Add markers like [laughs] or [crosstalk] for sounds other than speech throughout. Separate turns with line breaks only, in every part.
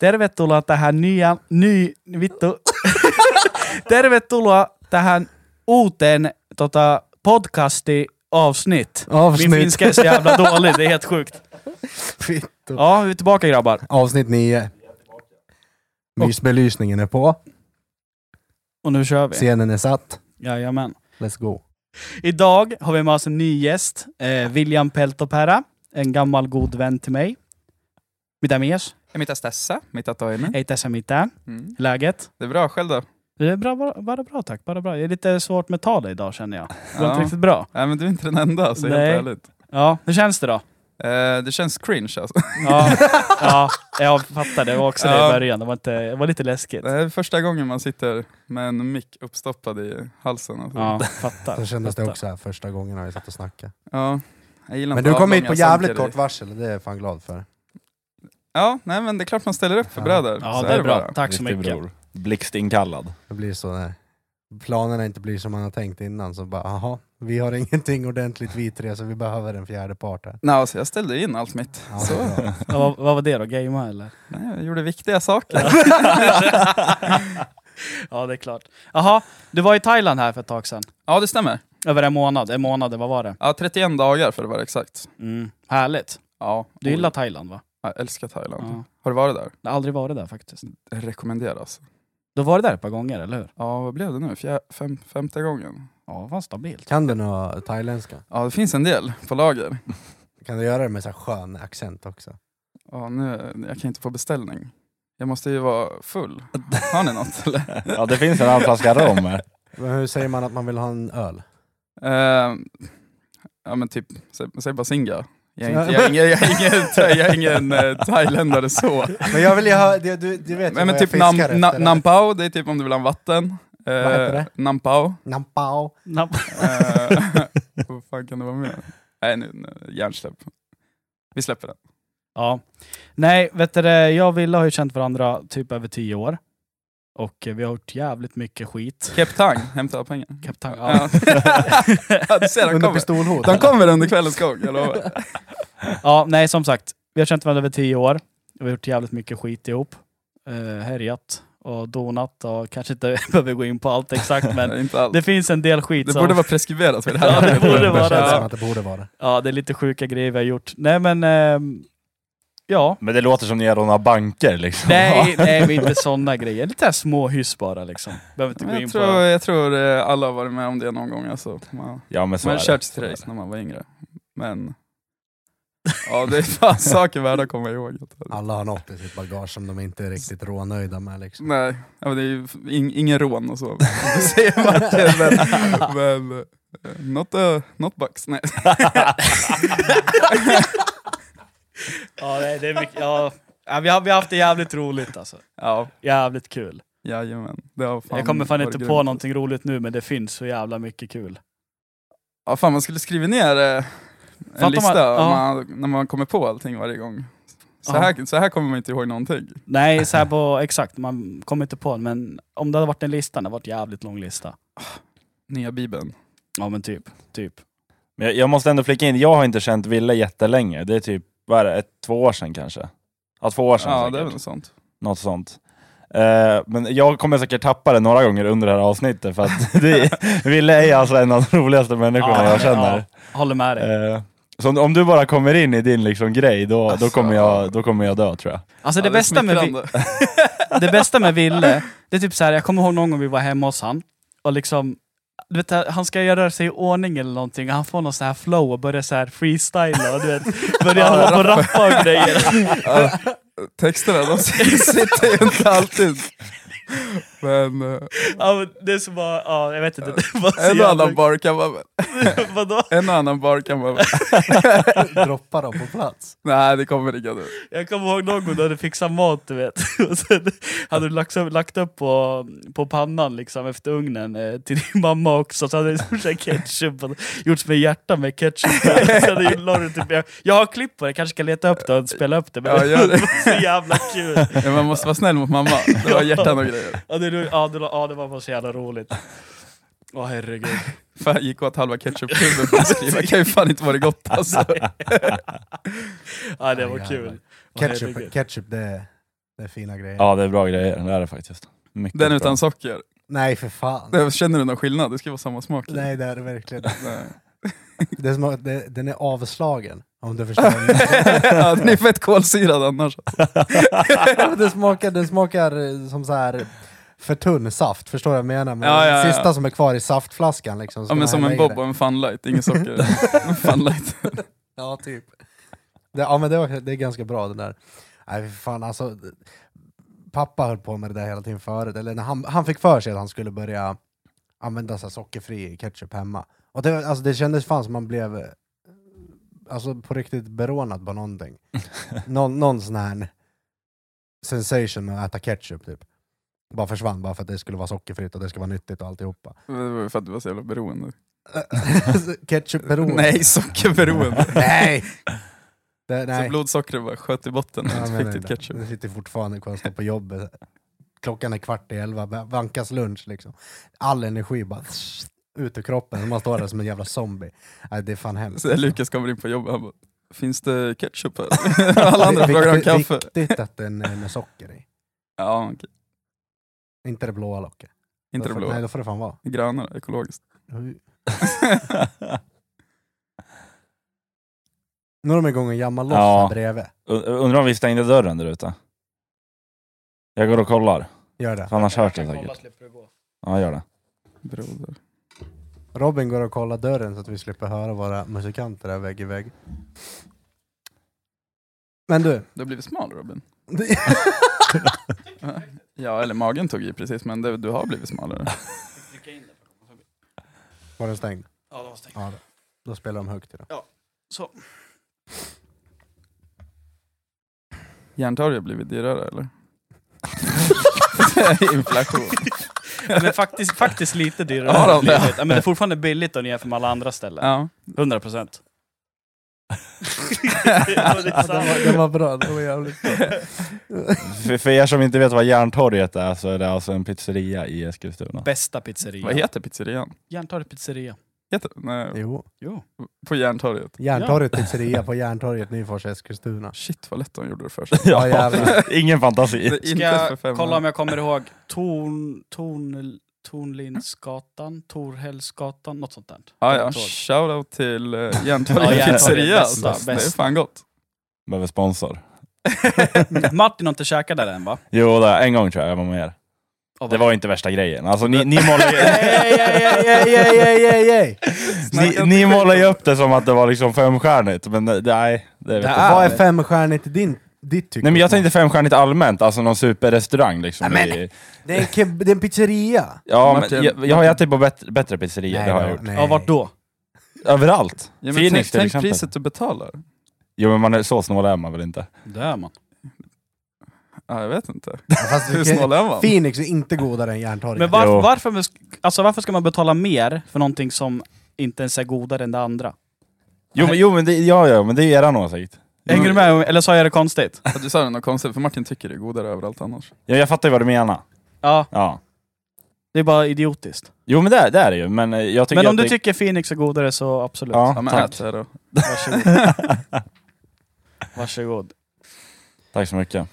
Tervetuloa tähän nyja, ny, vittu. [laughs] Tervetuloa tähän uuteen tota, podcasti avsnitt.
Avsnitt.
Min
[laughs]
finska är så jävla dålig, det är helt sjukt.
Fitto.
Ja, vi är tillbaka grabbar.
Avsnitt 9. Mysbelysningen är på,
Och nu kör vi.
scenen är satt.
Jajamän.
Let's go.
Idag har vi med oss en ny gäst, eh, William Peltoperä, en gammal god vän till mig. Mitä mies?
Mitä tässä? Mitä toinen?
Hej Tessa Mitä.
Mm.
Läget?
Det är bra, själv då?
Det är bra, bara, bara bra tack, bara bra. Det är lite svårt med talet idag känner jag. Det var
Ja.
inte riktigt bra.
Nej men du är inte den enda, så
Nej.
helt ärligt.
Ja, hur känns det då?
Eh, det känns cringe alltså.
Ja, ja jag fattar det. Det var också det i
Ja.
början. Det var, inte, det var lite läskigt.
Det här är första gången man sitter med en mick uppstoppad i halsen. Alltså.
Ja, fattar.
Så kändes det
fattar.
också här första gången när vi satt och snackade.
Ja. Jag gillar
Men
inte
du
av
kom hit
långa
på jävligt
samtidigt.
kort varsel, det är jag fan glad för.
Ja, nej men det är klart man ställer upp för
Ja.
bröder.
Ja,
så
det är bra.
bara.
Tack så mycket.
Blixtinkallad.
Det blir så när planerna inte blir som man har tänkt innan, så bara aha, vi har [laughs] ingenting ordentligt vi tre, så vi behöver en fjärde part här.
Nej, alltså, jag ställde in allt mitt.
Ja,
Så.
bra.
Ja, vad, vad var det då? Gamea eller?
Nej, jag gjorde viktiga saker.
ja, det är klart. Jaha, du var i Thailand här för ett tag sedan.
Ja, det stämmer.
Över en månad. En månad, vad var det?
Ja, 31 dagar för att vara exakt.
Mm. Härligt.
Ja,
Du
oj.
gillar Thailand va?
Jag älskar Thailand.
Ja.
Har du varit där?
Jag har aldrig varit där faktiskt.
Det rekommenderas.
Du har varit där ett par gånger, eller hur?
Ja, vad blev det nu? Fjär, fem, femte gången?
Ja, fan stabilt.
Kan du nå thailändska?
Ja, det finns en del på lager.
Kan du göra det med så här skön accent också?
Ja, nu, jag kan inte få beställning. Jag måste ju vara
[laughs]
full. Har ni något eller?
Ja, det finns en annan flaska rom här.
Men hur säger man att man vill ha en
[laughs]
öl?
Ehm, ja men typ, säg, säg bara Singa. Jag är, inte, jag, är ingen, jag, är ingen, jag är ingen eh, thailändare så.
Men jag vill ju ha, du, du, du vet ju
Nej,
vad
men
jag
typ
fiskar
nam,
efter
na,
där.
Nampao, det är typ om du vill ha vatten. Eh,
Vad heter det? [laughs]
Nampao.
Nampao.
Nam-
Eh, [laughs] vad fan kan det vara mer? Nej nu, nu hjärnsläpp. Vi släpper den.
Ja. Nej, vet du det, jag och Wille har ju känt varandra typ över tio år. Och eh, vi har gjort jävligt mycket skit.
Cape Tang, hämta pengar.
Kapten, ja.
Ja. [laughs] ja, du ser, de
Under
kommer.
pistolhot.
De kommer under kvällens gång, jag lovar.
ja, nej som sagt. Vi har känt varandra över tio år. Vi har gjort jävligt mycket skit ihop. Uh, härjat och donat och kanske inte [laughs] behöver gå in på allt exakt [laughs] men
[laughs] Nej, inte alls.
det finns en del skit
Det
som...
borde vara preskriberat vid det
Ja,
här
det
[laughs]
borde vara
Det känns
det.
som att det borde vara det.
Ja, det är lite sjuka grejer vi har gjort. Nej men... ehm,
[laughs]
ja.
Men det låter som ni rånar banker liksom.
Nej, nej men inte sådana grejer. Lite här små hyss bara liksom. Behöver inte
Men
gå in
Jag tror, [laughs]
på...
jag tror eh, alla har varit med om det någon gång. Alltså. Man
[laughs] Ja men så
man
är
kört
Så
sitt
är
race när man var yngre. Men ja, det
[laughs]
är fan saker värda att komma ihåg.
Alla har något i sitt bagage som de inte är riktigt rånöjda med. Liksom.
Nej, ja, men det är ju f- in, ingen rån och så. [laughs] Det säger Martin,
[laughs]
men, men eh, not, uh, not bucks. Nej.
[laughs]
[laughs]
Ja, nej, det är mycket... Ja. Ja, vi, har, vi har haft det jävligt roligt alltså.
Ja,
Jävligt kul.
jajamän. Det har fan
jag kommer fan
varit
inte på
grymt.
någonting roligt nu men det finns så jävla mycket kul.
Ja, fan man skulle skriva ner eh, en
man-
lista
ja.
man, när man kommer på allting varje gång. Så,
Ja.
här, så här kommer man inte ihåg någonting.
Nej, så här på [laughs] exakt, man kommer inte på det, men om det hade varit en lista, det hade varit en jävligt lång lista.
Nya bibeln.
Ja men typ, typ.
Men jag, jag måste ändå flika in, jag har inte känt Ville jättelänge. Det är typ, vad är det, ett, två år sedan kanske? Ja, två år sedan
Ja,
säkert.
det är väl något sånt.
Något sånt. Eh, men jag kommer säkert tappa det några gånger under det här avsnittet för att [laughs] det, Ville är alltså en av de roligaste människorna
Ja,
jag känner.
Håller med dig.
Eh, så om- om du bara kommer in i din liksom grej, då, då, kommer jag, då kommer jag dö tror jag.
Alltså det,
Ja, är
bästa med, Vi-
smickrande.
det bästa
[laughs]
med Ville, det är typ så här, jag kommer ihåg någon gång vi var hemma hos han, och liksom, du vet, han ska göra sig i ordning eller någonting, och han får någon sån här flow och börjar så här freestyla och du
[laughs]
vet, börjar hålla på och rappa och grejer.
Ja, [laughs] Texterna, de [laughs] sitter ju inte alltid. Men eh,
Ja, men det är så bara, ja, jag vet inte. Det var så
en och
jävla-
annan bar kan man väl...
[laughs] Vadå?
En och annan bar kan man väl...
[laughs] Droppa dem på plats.
[laughs] Nej, det kommer inga nu.
Jag kommer ihåg någon gång när du fixade mat du vet. [laughs] Och sen hade du lagt, upp- lagt upp på, på pannan liksom efter ugnen eh, till din mamma också. Så hade du gjort så här ketchup, och gjort som ett hjärta med ketchup. [laughs] Och Sen la du typ, jag, jag har klipp på det, kanske ska leta upp det och spela upp det. Men [laughs]
Ja, gör det.
var så jävla kul.
Ja, Man måste vara snäll mot mamma. Det var hjärtan och grejer.
Ja det, ja, det, ja, det var bara så jävla roligt. Åh herregud.
Fan, gick åt halva ketchupkuben för att skriva. kan ju fan inte vara gott alltså.
Ja, det var
Ja,
kul. Åh, herregud.
Ketchup, ketchup det, är- Det är fina grejer.
Ja, det är bra grejer. Det är det faktiskt. Mycket
Den
bra.
utan socker.
Nej för fan.
Det- Känner du någon skillnad? Det ska vara samma smak.
[laughs]
i.
Nej det är det verkligen.
Nej.
Det är som, att det, den är avslagen. Om du förstår.
ja, den är fett kolsyrad annars.
det smakar, den smakar eh, som så här för tunn saft, förstår du vad jag menar? Men
Ja, ja, ja.
Sista som är kvar i saftflaskan liksom. ska
Ja, men
man
som
hälla
en
i
bob
det.
och en funlight, inget socker. [laughs] En funlight.
Ja, typ. Det, ja, men det, var, det är ganska bra den där. Nej, fy fan alltså. Pappa höll på med det där hela tiden förut, eller när han, han fick för sig att han skulle börja använda så här sockerfri ketchup hemma. Och det, var- alltså, det kändes fan som man blev eh, alltså, på riktigt berånad på någonting. Någon, någon sån här sensation med att äta ketchup typ. Bara försvann bara för att det skulle vara sockerfritt och det skulle vara nyttigt och alltihopa. [laughs]
Det var ju för att du var så jävla beroende.
Ketchupberoende.
Nej, sockerberoende.
[laughs] Nej! Det,
Så
nej.
blodsockret bara sköt i botten
[laughs]
när
Ja,
du
men
fick ditt
ändå.
ketchup.
Det sitter fortfarande kvar och står på jobbet. Klockan är kvart i elva, va- vankas lunch liksom. All energi bara [laughs] ut ur kroppen, man står där som en jävla zombie. Nej, det är fan hemskt. [laughs]
Så Lukas kommer in på jobbet han bara, finns det ketchup här? Alla andra
Det är
frågar om
viktigt-
kaffe.
viktigt att den är med socker i.
Ja, okej.
Inte det blåa locket.
Inte
Då får-
det
Nej,
blåa.
då får det fan vara.
Grönare, ekologiskt.
Nu har de igång en jamma loss
Ja.
här bredvid.
[laughs] Und- Undrar om vi stängde dörren där ute? Jag går och kollar.
Gör det.
För annars hörs det
Jag kan kolla,
säkert.
slipper du gå.
Ja, gör det.
Broder.
Robin går och kollar dörren så att vi slipper höra våra musikanter där vägg i vägg. Men du. [laughs]
Du har blivit smal Robin. Ja, eller magen tog i precis, men det, du har blivit smalare.
Trycka in den.
Var den stängd?
Ja, den var stängd.
Ja, då. då spelar de högt idag.
Så.
Järntorg har blivit dyrare eller? Inflation.
Men faktiskt, faktiskt lite dyrare.
Ja,
har det
då,
blivit. Ja, men det är fortfarande billigt om jämfört med alla andra ställen.
Ja.
100 procent.
Ja, den, var, den var bra, den var jävligt bra.
För, för er som inte vet vad Järntorget är så är det alltså en pizzeria
[laughs]
i Eskilstuna.
Bästa
Vad
pizzeria.
heter pizzerian?
Järntorget pizzeria.
Heter, nej,
Jo.
Jo.
på Järntorget.
Järntorget pizzeria på Järntorget, Nyfors, Eskilstuna.
Shit vad lätt de gjorde det för sig.
Ja, jävlar.
[laughs] ingen fantasi.
Det är
Ska
inte för
jag
fem
kolla om jag kommer ihåg Torn, torn, Tornlindsgatan, Torhällsgatan, något sånt där.
Ah, ja.
Torn.
Shoutout till eh,
Ja,
Järntorget
Järntorget.
pizzeria.
Bästa,
alltså. Det är
bäst.
fan gott.
Behöver sponsor.
Martin har inte käkat där än va?
Jo, det är en gång tror jag jag var med er.
Och
Det
vad-
var inte värsta grejen. Alltså ni, ni
[laughs]
[laughs]
målar ju...
Ej, ej, ej, ej, ej, ej, ej, ej.
Ni, ni målar ju upp det som att det var liksom femstjärnigt, men det- nej. Det vet
Det
jag.
är-
Vad är femstjärnigt i din, ditt tycke?
Nej men jag tänkte femstjärnigt allmänt, alltså någon superrestaurang liksom.
Nej, men-
i,
Det är en, keb- det är en pizzeria.
ja, men
Martin-
jag, jag har ätit på bättre, bättre pizzerior, det har jag gjort.
nej.
Ja, vart då?
Överallt!
Ja, men
Phoenix
tänk,
till
tänk
exempel.
priset du betalar.
Jo men man är, så snål är man väl inte?
Där man.
Ja, jag vet inte.
Ja, fast
[laughs] Hur
vi kan,
snål är man?
Phoenix är inte godare än Järntorget.
Men
Jo.
varför, varför, mus- alltså varför ska man betala mer för någonting som inte ens är godare än det andra?
Jo men, jo, men, det, ja, ja, men det är eran åsikt.
Hänger du med? Eller sa jag det konstigt?
Ja, Du sa något konstigt, för Martin tycker det är godare överallt annars.
Ja, jag fattar ju vad du menar.
Ja,
Ja.
det är bara idiotiskt.
Jo men det, det är det ju, men eh, jag tycker
Men om
att
du
det...
tycker Phoenix är godare så absolut.
Ja,
Ja,
men [laughs]
tack.
ät det då.
Varsågod. Varsågod.
[laughs] tack så mycket.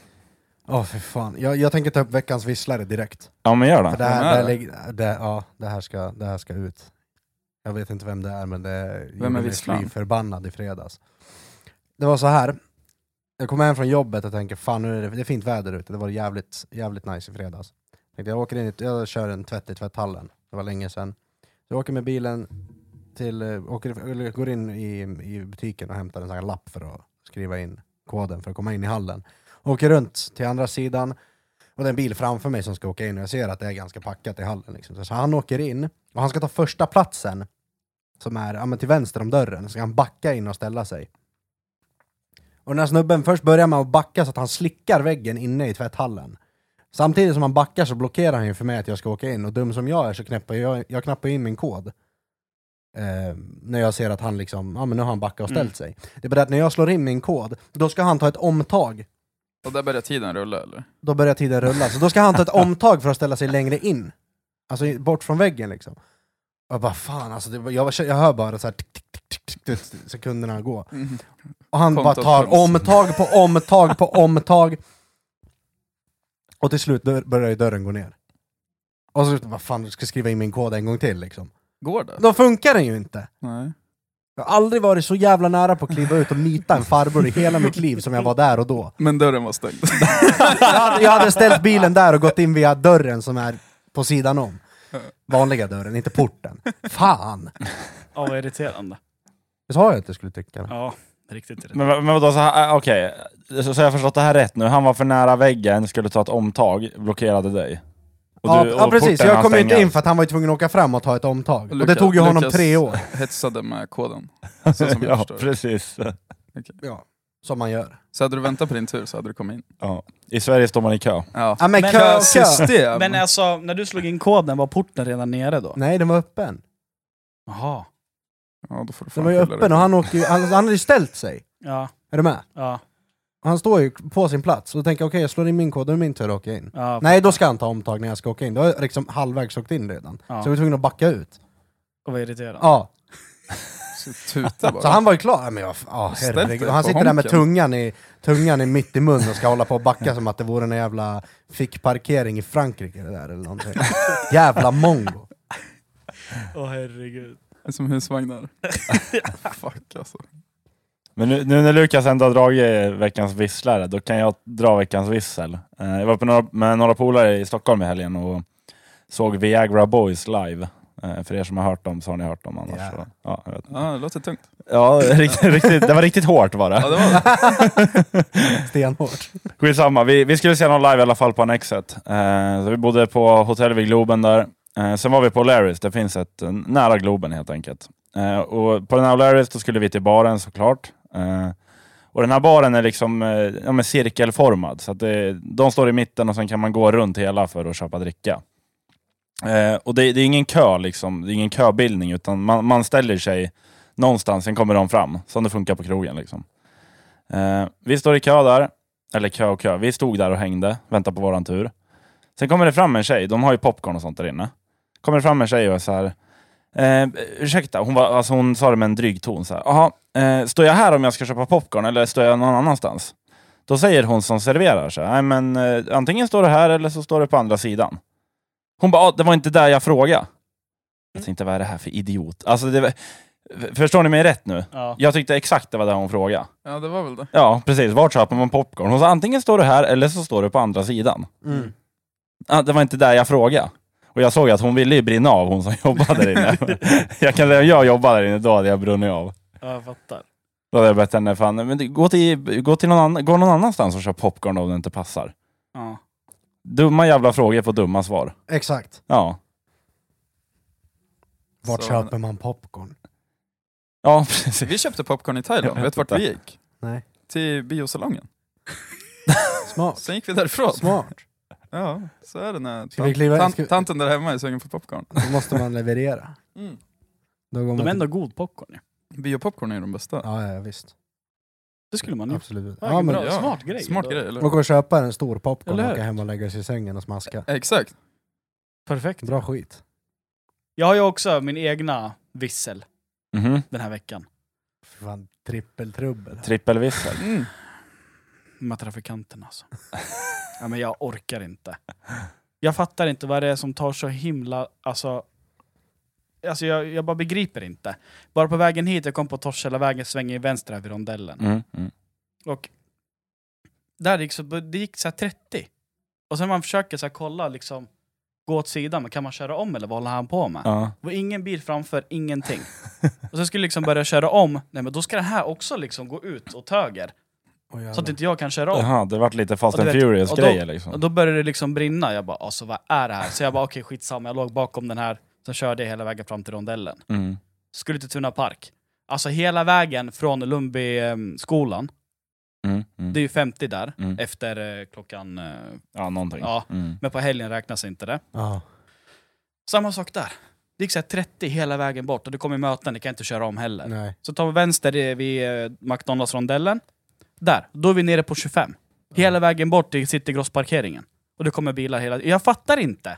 Åh för fan. Jag, jag tänker ta upp veckans visslare direkt.
Ja men gör
För
det.
det, här,
vem
det,
är
här,
det?
ligger- det, ja, det, här ska, det här ska ut. Jag vet inte vem det är, men det gjorde mig
visslan?
fly förbannad i fredags. Det var så här. jag kom hem från jobbet och tänker fan nu är det, det är fint väder ute, det var jävligt, jävligt nice i fredags. Tänkte, jag åker in, i- jag kör en tvätt i tvätthallen, det var länge sedan. Så jag åker med bilen till, eh, åker, eller går in i, i butiken och hämtar en sån här lapp för att skriva in koden för att komma in i hallen. Åker runt till andra sidan och det är en bil framför mig som ska åka in och jag ser att det är ganska packat i hallen. Liksom. Så han åker in och han ska ta första platsen som är ja, men till vänster om dörren. Så ska han backa in och ställa sig. Och den här snubben först börjar med att backa så att han slickar väggen inne i tvätthallen. Samtidigt som han backar så blockerar han ju för mig att jag ska åka in och dum som jag är så knäpper jag, jag knappar in min kod. Eh, när jag ser att han liksom, ja men nu har han backat och ställt sig. Det är bara det att när jag slår in min kod, då ska han ta ett omtag
Och där börjar tiden rulla eller?
då börjar tiden rulla. Så då ska han ta ett omtag för att ställa sig längre in. Alltså i- bort från väggen liksom. Och jag bara fan alltså, det, var- jag, jag hör bara så här tick, tick, tick, tick, tick, tick, sekunderna gå. Och han bara
Kontot
tar
töms.
omtag på omtag på omtag. Och till slut dör- börjar ju dörren gå ner. Och så vad fan, du ska skriva in min kod en gång till liksom.
Går det?
Då funkar den ju inte.
Nej.
Jag har aldrig varit så jävla nära på att kliva ut och nita en farbror i hela mitt liv som jag var där och då.
Men dörren var stängd.
Jag hade, jag hade ställt bilen där och gått in via dörren som är på sidan om. Vanliga dörren, inte porten. Fan!
Ja, vad irriterande.
Det sa jag att jag skulle tycka det.
Ja, riktigt irriterande.
Men, men vadå, så här, äh, okej. Så, så jag har förstått det här rätt nu. Han var för nära väggen, skulle ta ett omtag, blockerade dig. Och
Ja,
du- och
ja precis,
porten
jag
hann
kom ju inte
stängas.
in för att han var ju tvungen att åka fram och ta ett omtag. Och det
Lukas-
tog ju honom
Lukas
tre år.
Hetsade med koden. Så som
[laughs]
jag
[laughs] Ja,
förstår.
precis.
Ja, som man gör.
Så hade du väntat på din tur så hade du kommit in.
Ja. I Sverige står man i kö.
Ja.
Ja men
Men-
kö, kö!
System!
Men alltså, när du slog in koden, var porten redan nere då?
Nej, den var öppen.
Jaha.
ja, då får du
Den
fan
var ju
skylla dig.
öppen och han, åker ju, han, han hade ju ställt sig.
Ja,
Är du med?
ja,
Han står ju på sin plats och tänker okej, jag slår in min kod, då är det min tur att åka in.
ja.
Nej, då ska han ta omtag när jag ska åka in. Då har jag liksom halvvägs åkt in redan.
Ja.
Så jag var tvungen att backa ut.
Och vad irriterande.
Ja.
Så tuta bara.
Så han var ju klar. Ja, Men jag, ja,
Ställt
herregud.
dig
Och han
på
sitter där med
honken.
tungan i, tungan i mitt i mun och ska hålla på och backa som att det vore en jävla fickparkering i Frankrike det där eller någonting. Jävla mongo.
Åh herregud.
Det är Som husvagnar. [laughs] Fuck alltså.
Men nu, nu när Lukas ändå har dragit veckans visslare, då kan jag dra veckans vissel. Eh, Jag var på några, med några polare i Stockholm i helgen och såg Viagra Boys live. Eh, För er som har hört dem så har ni hört dem annars.
Ja.
så- Ja, jag vet.
Ja, det låter tungt.
ja riktigt, riktigt, det var riktigt hårt var det.
Ja, [laughs] det var det.
[laughs] Stenhårt.
Skitsamma, vi, vi skulle se någon live i alla fall på Annexet. Eh, så vi bodde på hotell vid Globen där. Eh, sen var vi på Larrys, det finns ett eh, nära Globen helt enkelt. Eh, och på den här Larrys då skulle vi till baren såklart. Eh, och den här baren är liksom eh, ja, men cirkelformad, så att det, de står i mitten och sen kan man gå runt hela för att köpa dricka. Eh, och det, det är ingen kö, liksom. det är ingen köbildning, utan man, man ställer sig någonstans, sen kommer de fram. Som det funkar på krogen. Liksom. Eh, vi står i kö där, eller kö och kö. Vi stod där och hängde, väntade på våran tur. Sen kommer det fram en tjej, de har ju popcorn och sånt där inne. Kommer det fram en tjej och är så här, eh, ursäkta, hon, var, alltså hon sa det med en dryg ton så här, jaha, eh, står jag här om jag ska köpa popcorn eller står jag någon annanstans? Då säger hon som serverar så här, nej men eh, antingen står du här eller så står du på andra sidan. Hon bara, ah, det var inte där jag frågade. Jag tänkte, vad är det här för idiot? Alltså, det, var- förstår ni mig rätt nu?
Ja.
Jag tyckte exakt det var det hon frågade.
Ja, det var väl det.
Ja, precis. Vart köper man popcorn? Hon sa antingen står du här eller så står du på andra sidan.
Mm.
Ah, det var inte där jag frågade. Och jag såg att hon ville ju brinna av, hon som [laughs] jobbade där inne. [laughs] jag kan säga, om jag jobbade där inne, då hade jag brunnit av.
ja, jag fattar.
Då hade jag bett henne, fan, men du, gå, till, gå, till någon annan, gå någon annanstans och köp popcorn om det inte passar.
Ja.
Dumma jävla frågor på dumma svar.
Exakt.
Ja,
Vart
Så-
köper man popcorn?
ja [laughs] precis.
Vi köpte popcorn i Thailand,
Jag
vet
vet
du vart
inte.
vi gick?
Nej.
Till biosalongen.
Smart.
Sen gick vi därifrån.
Smart.
Ja, så är det när
Ska vi
tant,
kliva-
tant,
ska-
tanten där hemma är sugen på popcorn.
Då måste man leverera.
Mm.
Då går man
De är
till-
ändå god popcorn ju.
Biopopcorn är ju de bästa.
Ja, ja, visst.
Det skulle man ju...
Absolut.
Ja,
Ja, men,
bra. smart grej.
Smart grej, eller
man går och köper en stor popcorn
Eller
och
hur?
åker hem och lägger sig i sängen och smaska.
Exakt.
Perfekt.
Bra skit.
Jag har ju också min egna vissel
Mhm.
den här veckan.
Fan, trippeltrubbel.
Trippelvissel.
Mm.
Med trafikanterna
[laughs]
alltså. ja, men jag orkar inte. Jag fattar inte vad det är som tar så himla... Alltså, alltså jag, jag bara begriper inte. Bara på vägen hit, jag kom på Torshälla vägen, svänger i vänster här vid rondellen.
Mm. Mm.
Och där gick så, det gick så här 30. Och sen man försöker så här kolla, liksom, gå åt sidan, men kan man köra om eller vad håller han på med?
Ja.
Det var ingen bil framför,
[laughs]
ingenting. Och sen skulle jag liksom börja köra om, nej men då ska den här också liksom gå ut åt höger.
Åh, jävlar.
Så att inte jag kan köra om.
Jaha, det vart lite Fast
Och du
and
vet- och då-
Furious-grejer
Och
liksom.
då började det liksom brinna, jag bara alltså vad är det här? Så jag bara okej skitsamma, jag låg bakom den här, sen körde jag hela vägen fram till rondellen.
Mm.
Skulle till Tuna Park. Alltså hela vägen från Lundbyskolan,
Mm. Mm.
det är ju 50 där,
Mm.
efter eh, klockan... Eh,
Ja, någonting.
Ja.
Mm.
men på helgen räknas inte det.
Ja.
Samma sak där. Det gick så här 30 hela vägen bort och det kommer möten, det kan jag inte köra om heller.
Nej.
Så tar vi vänster eh, vid eh, McDonalds-rondellen. Där, då är vi nere på 25. Hela vägen bort till Citygrossparkeringen. Och det kommer bilar hela Jag fattar inte!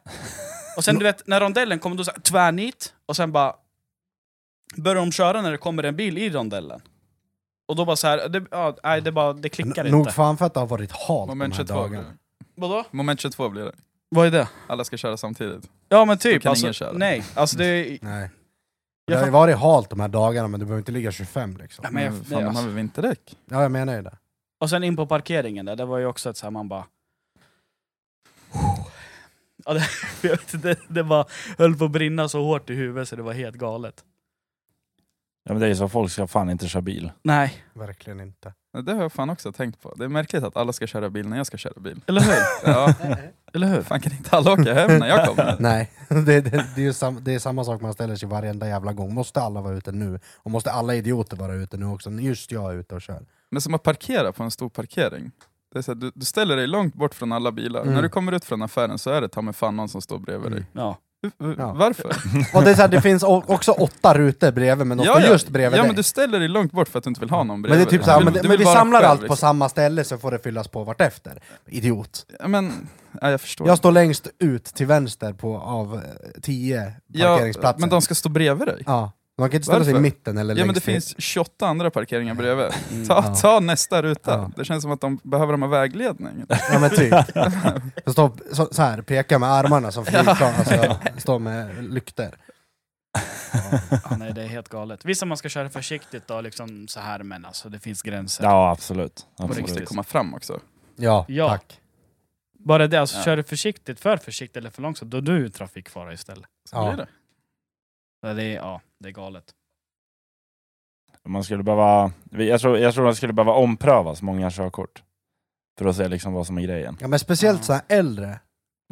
Och sen du vet, när rondellen kommer, då så här, tvärnit, och sen bara... Börjar de köra när det kommer en bil i rondellen. Och då bara så här, det, ja, nej, det, bara, det klickar
Nog
inte.
fan för att det har varit halt de
Moment
här
22.
dagarna.
Vadå?
Moment 22 blir det.
Vad är det?
Alla ska köra samtidigt.
Ja men
Då
typ,
kan
alltså,
ingen köra.
nej. Alltså det är...
Nej. Det
Jag
har ju varit halt de här dagarna men du behöver inte ligga 25 liksom.
Nej, men jag, nej,
Mm, fan, man har
alltså.
väl vinterdäck?
Ja jag menar ju det.
Och sen in på parkeringen där, det var ju också ett så här, man bara... Ja, det, [laughs] jag vet inte, det, det bara höll på att brinna så hårt i huvudet så det var helt galet.
Ja, men det är ju så, folk ska fan inte köra bil.
Nej, [laughs]
Verkligen inte.
Det har jag fan också tänkt på. Det är märkligt att alla ska köra bil när jag ska köra bil.
eller [laughs] hur?
[laughs] Ja,
eller hur?
fan kan inte alla åka hem när jag kommer?
Nej, [laughs] det, det, det, är ju sam, det är samma sak man ställer sig varenda jävla gång. Måste alla vara ute nu? Och måste alla idioter vara ute nu också? Just jag är ute och kör.
Men som att parkera på en stor parkering. Det är så här, du, du ställer dig långt bort från alla bilar.
Mm.
När du kommer ut från affären så är det ta mig fan någon som står bredvid dig.
Ja.
Hur- hur-
Ja.
Varför?
Mm. Och det, är så här, det finns o- också åtta rutor bredvid men de står just bredvid
ja,
dig.
men du ställer dig långt bort för att du inte vill ha någon
Men
bredvid
det är typ
dig.
såhär,
Du
men,
vill- du
men
vill
vi
vara
samlar
själv,
allt på
liksom.
samma ställe så får det fyllas på vartefter. Idiot.
Ja, men, ja, jag förstår.
Jag står längst ut till vänster på, av eh, tio
ja,
parkeringsplatser.
men de ska stå bredvid dig.
Ja, de kan inte ställa sig i
Varför?
mitten eller
Ja men det
längst till-
finns 28 andra
[laughs]
parkeringar bredvid.
Mm.
Ta,
Ja.
ta nästa ruta.
Ja.
Det känns som att de behöver de här vägledning.
Ja men
[laughs]
typ. Jag står så, så här, pekar med armarna som flygplan,
[laughs]
alltså, står med lykter.
Ja, nej, det är helt galet. Visst att man ska köra försiktigt då, liksom så här, men alltså det finns gränser.
[laughs] Ja, absolut.
Och det måste
absolut.
komma fram också.
Ja,
Ja.
tack.
Bara det, alltså
Ja.
kör du försiktigt, för försiktigt eller för långsamt, då är du i trafikfara istället.
Så
Ja.
blir det.
Ja, Det är, ja, det är galet.
Man skulle behöva, jag tror, jag tror man skulle behöva omprövas många körkort. För att se liksom vad som är grejen.
Ja men speciellt
Ja.
så här äldre.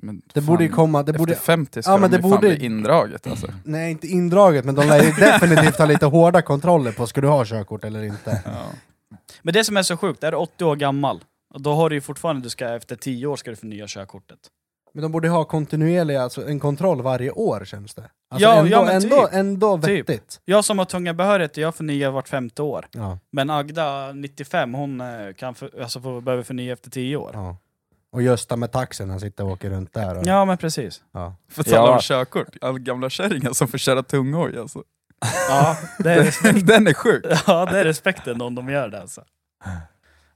Men
Det
fan,
borde ju komma, det borde,
Efter 50 ska
Ja, men
de
det
ju fan
borde-
bli indraget alltså.
nej inte indraget men de
[laughs]
lär ju definitivt ha lite hårda kontroller på ska du ha körkort eller inte.
Ja.
Men det som är så sjukt, är du 80 år gammal, och då har du ju fortfarande, du ska, efter 10 år ska du förnya körkortet.
Men de borde ha kontinuerlig, alltså en kontroll varje år känns det. Alltså
Ja,
ändå,
ja, men
ändå,
typ.
ändå
Typ.
vettigt.
Jag som har tunga behörigheter, jag förnyar vart femte år.
Ja,
Men Agda, 95, hon eh, kan för, alltså får, behöver förnya efter 10 år.
ja. Och Gösta med taxen, han sitter och åker runt där. Och, ja.
Ja men precis. [laughs]
För att tala
Ja.
om körkort, alla gamla kärringar som får köra tunghoj alltså.
Ja, det är,
[laughs] Den är sjuk!
ja, det är respekten om de gör det alltså.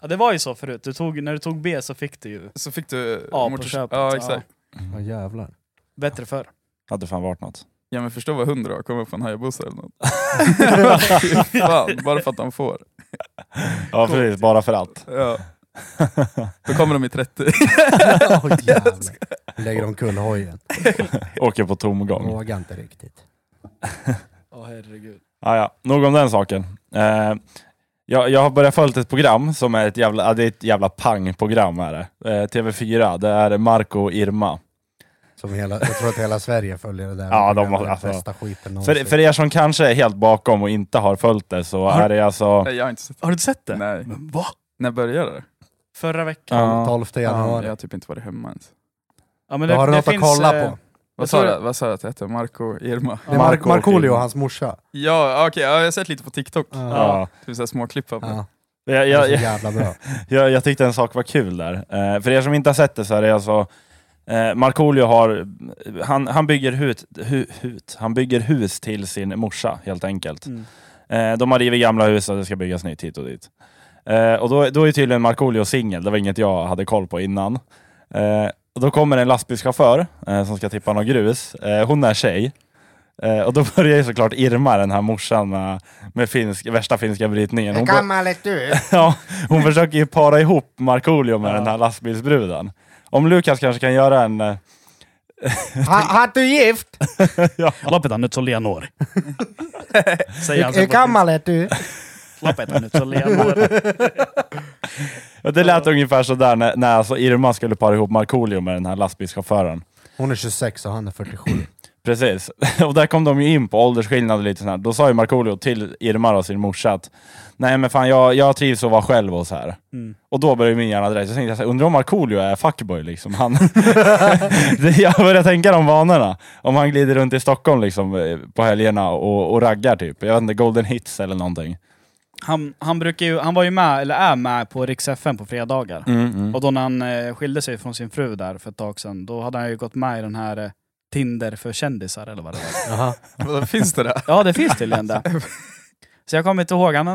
Ja, det var ju så förut, du tog, när du tog B så fick du ju
Så fick du...
Ja, på
motors-
köpet,
Ja, exakt.
Ja, jävlar.
bättre förr.
Hade fan varit något.
Ja men förstå vad hundra har, komma upp på en Hayabusa eller
[laughs]
något. Fy fan, bara för att de får.
Ja precis, bara för allt.
Ja. Då kommer de i 30.
[laughs] Åh jävlar. Lägger omkull hojen.
Åker på tomgång.
Vågar inte riktigt.
Åh herregud.
Ah, ja. Nog om den saken. Eh, jag, jag har börjat följa ett program som är ett jävla, ja, det är ett jävla pangprogram är det. Eh, TV4, det är Marco och Irma.
Som hela, jag tror att hela Sverige följer det där.
Ja, de har-
Det är den
alltså.
bästa skiten någonsin.
För, för er som kanske är helt bakom och inte har följt det så
Har-
är det alltså...
Nej jag har inte sett
Har du inte sett det?
Nej.
Men va?
När började det?
Förra veckan.
Ja.
12
Ja,
januari.
jag har typ inte varit hemma ens.
Ja, men
Då har du något att kolla
eh,
på.
Vad
tror
sa,
det-
du, vad sa du att det hette? Marco Irma?
Det är
Marco
Mark,
och
Markoolio
Kim.
och hans morsa.
Ja, okej, ja, jag har sett lite på TikTok.
Ja.
Typ såhär småklipp av [laughs] det.
Ja, det är
Jag, jag,
så
jag,
jävla bra.
jag, jag tyckte en sak var kul där. Eh, för er som inte har sett det så är det alltså... Eh, Markoolio har... Han, han, bygger hut, hu, hut, han bygger hus till sin morsa helt enkelt.
Mm.
Eh, de har rivit gamla hus och det ska byggas nytt hit och dit. Eh, och då, då är tydligen Markoolio singel, det var inget jag hade koll på innan. Eh, och då kommer en lastbilschaufför eh, som ska tippa något grus. Eh, hon är tjej. Eh, och då börjar ju såklart Irma, den här morsan med, med finsk, värsta finska brytningen. Hon, bör-
Gammal är du!
[laughs] ja, hon försöker ju para ihop Markoolio med
Ja.
den här lastbilsbruden. Om Lukas kanske kan göra en... eh,
Har du gift?
ja.
Lappetan nyt så
[laughs]
Leonor. Säger han
Hur
så på-
gammal är du?
Lappetan nyt så
[laughs]
Leonor.
Och Det lät ungefär sådär när, när alltså Irma skulle para ihop Markoolio med den här lastbilschauffören.
Hon är 26 och han är 47.
Precis, [laughs] och där kom de ju in på åldersskillnad och lite sånt här. Då sa ju Markoolio till Irma och sin morsa att Nej men fan jag, jag trivs att vara själv och så här.
Mm.
Och då började min hjärna direkt, jag tänkte jag så här, undrar om Markoolio är fuckboy liksom. Han, [laughs] Det- jag började tänka de vanorna. Om han glider runt i Stockholm liksom eh, på helgerna och, och raggar typ. Jag vet inte, golden hits eller någonting.
Han, han, brukar ju, han var ju med, eller är med, på Rix FM på fredagar. Och då när han eh, skilde sig från sin fru där för ett tag sedan, då hade han ju gått med i den här eh, Tinder för kändisar eller vad det var.
Jaha.
Vadå, Finns det där?
[laughs] Ja, det finns tydligen det. Så jag kommer inte ihåg, han,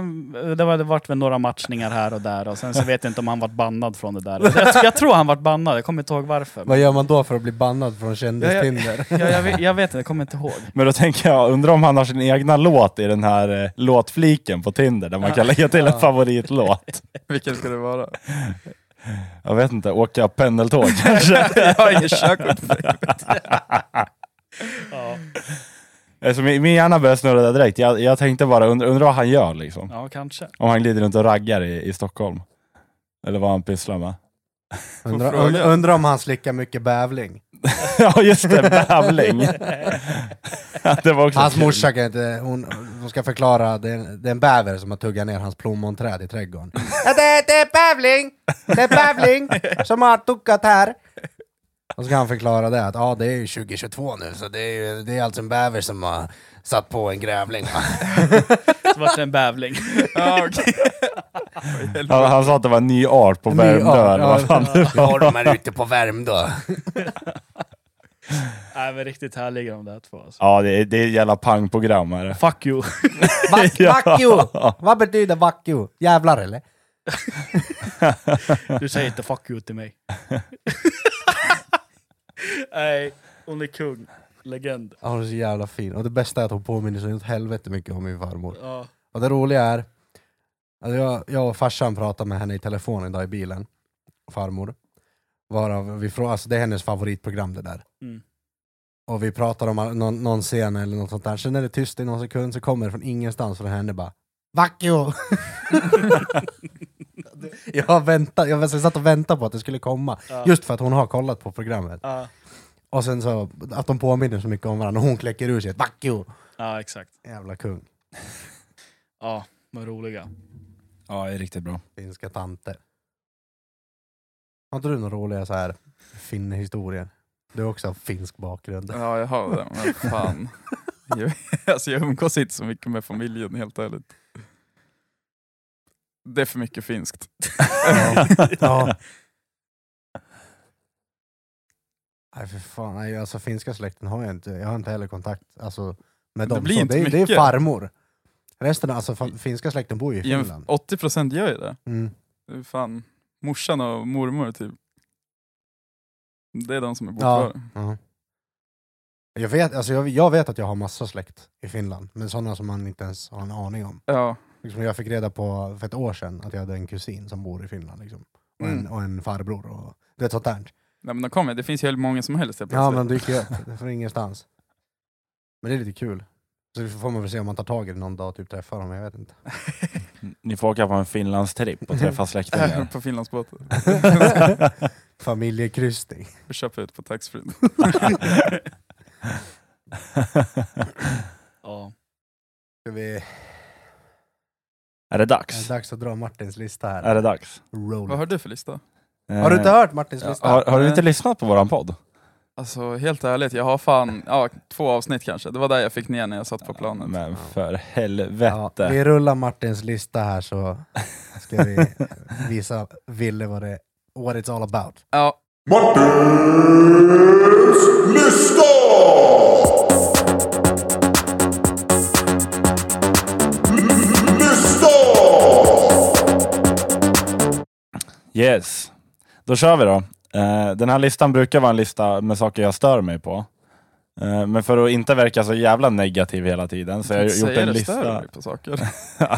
eh, det var- det varit väl några matchningar här och där och sen så vet jag inte om han vart bannad från det där. Jag, jag tror han vart bannad, jag kommer inte ihåg varför.
Vad gör man då för att bli bannad från kändis-Tinder?
Jag, jag, vet- jag vet inte, jag kommer inte ihåg.
Men då tänker jag, undrar om han har sin egna låt i den här eh, låtfliken på Tinder, där man kan lägga till en favoritlåt.
Vilken ska
[laughs]
det vara?
Jag vet inte, åka pendeltåg kanske?
Jag har
[laughs]
inget körkort.
Ja,
Alltså, min min hjärna började snurra där direkt. Jag, jag tänkte bara, undrar undra vad han gör liksom?
ja kanske.
Om han glider runt och raggar i, i Stockholm. Eller vad han pysslar med.
Undrar
fråga.
und- undrar om han slickar mycket bävling.
[laughs] ja just det, bävling. [laughs] det var också
Hans
kul.
morsa kan inte, hon, hon ska förklara, det är, en- det är en bäver som har tuggat ner hans plommonträd i trädgården. Ja, det, det är bävling! Det är bävling som har tuggat här. Och så kan han förklara det, att ja det är ju 2022 nu, så det är, ju, det är alltså en bäver som har satt på en grävling.
Det vart en bävling.
Ja, okej.
[laughs]
Han, han sa att det var en ny art på
En ny art,
Värmdö eller vad
ja.
fan det var.
Ormar ute på [laughs] Värmdö.
Nej men riktigt härliga de där två alltså.
Ja, det är, det är ett jävla pangprogram
[laughs]
är det.
Fuck you.
Vack,
Ja.
vack you! Vad betyder vack you? Jävlar eller?
Du säger inte fuck you till mig. [laughs] Nej, hon är kung. Legend.
Ja, hon är så jävla fin. Och det bästa är att hon påminner sig åt helvete mycket om min farmor.
Ja.
Och det roliga är, alltså jag, jag och farsan pratade med henne i telefon idag i bilen, farmor. Varav vi frågade, alltså det är hennes favoritprogram det där.
Mm.
Och vi pratar om all- någon, någon scen eller något sånt där, sen är det tyst i någon sekund så kommer det från ingenstans från henne bara Vackio! [laughs] jag, väntade, jag satt och väntade på att det skulle komma,
Ja.
just för att hon har kollat på programmet.
Ja,
Och sen så, att de påminner så mycket om varandra, och hon kläcker ur sig ett Vackio!
ja exakt.
Jävla kung,
Ja, de roliga.
Ja, det är riktigt bra.
finska tanter. Har inte du några roliga så här finnhistorier? Du har också finsk bakgrund.
ja, jag har det. Men
[laughs]
fan. Jag, alltså, jag umgås inte så mycket med familjen, helt ärligt. Det är för mycket finskt.
[laughs] Ja. Nej för fan, nej, alltså finska släkten har jag inte, jag har inte heller kontakt alltså, med
Det
dem.
blir
så
inte
det, är- det är
mycket.
farmor. Resten, alltså fa- finska släkten bor ju i
Ja, men
Finland.
80% gör ju det.
Mm.
Det är fan morsan och mormor typ. Det är de som är
Ja.
bokförda.
Ja. Jag, vet, alltså jag, jag vet att jag har massa släkt i Finland, men sådana som man inte ens har en aning om.
Ja.
Liksom jag fick reda på för ett år sedan att jag hade en kusin som bor i Finland. Liksom. Och, en,
Mm.
och en farbror och du vet sånt där.
Nej, men de kommer. Det finns ju hur många som helst helt
Ja
plötsligt.
men dyker ju upp [laughs] från ingenstans. Men det är lite kul. Så det får man väl se om man tar tag i det någon dag och typ träffar dem, jag vet inte.
Ni får åka på en Finlandstripp
[laughs]
och träffa släktingar.
[laughs] På Finlandsbåten.
Familjekryssning.
Och köpa ut på taxfree.
Ja.
Ska vi...
är det
Är det
dags?
dags att dra Martins lista
Är
här?
det dags?
Roll.
Vad har du för lista?
Har du inte hört Martins
Ja,
lista?
Eh, har, har du inte lyssnat på våran podd?
Alltså helt ärligt, jag har fan ja, två avsnitt kanske. Det var där jag fick ner när jag satt på planet.
Men för
Ja,
helvete.
vi rullar Martins lista här så ska vi visa Ville vad det what it's all about.
Ja,
Yes. Då kör vi då. Eh, Den här listan brukar vara en lista med saker jag stör mig på. Eh, Men för att inte verka så jävla negativ hela tiden så har jag gjort
säger
en
det
lista.
stör mig
[laughs]
på saker.
[laughs]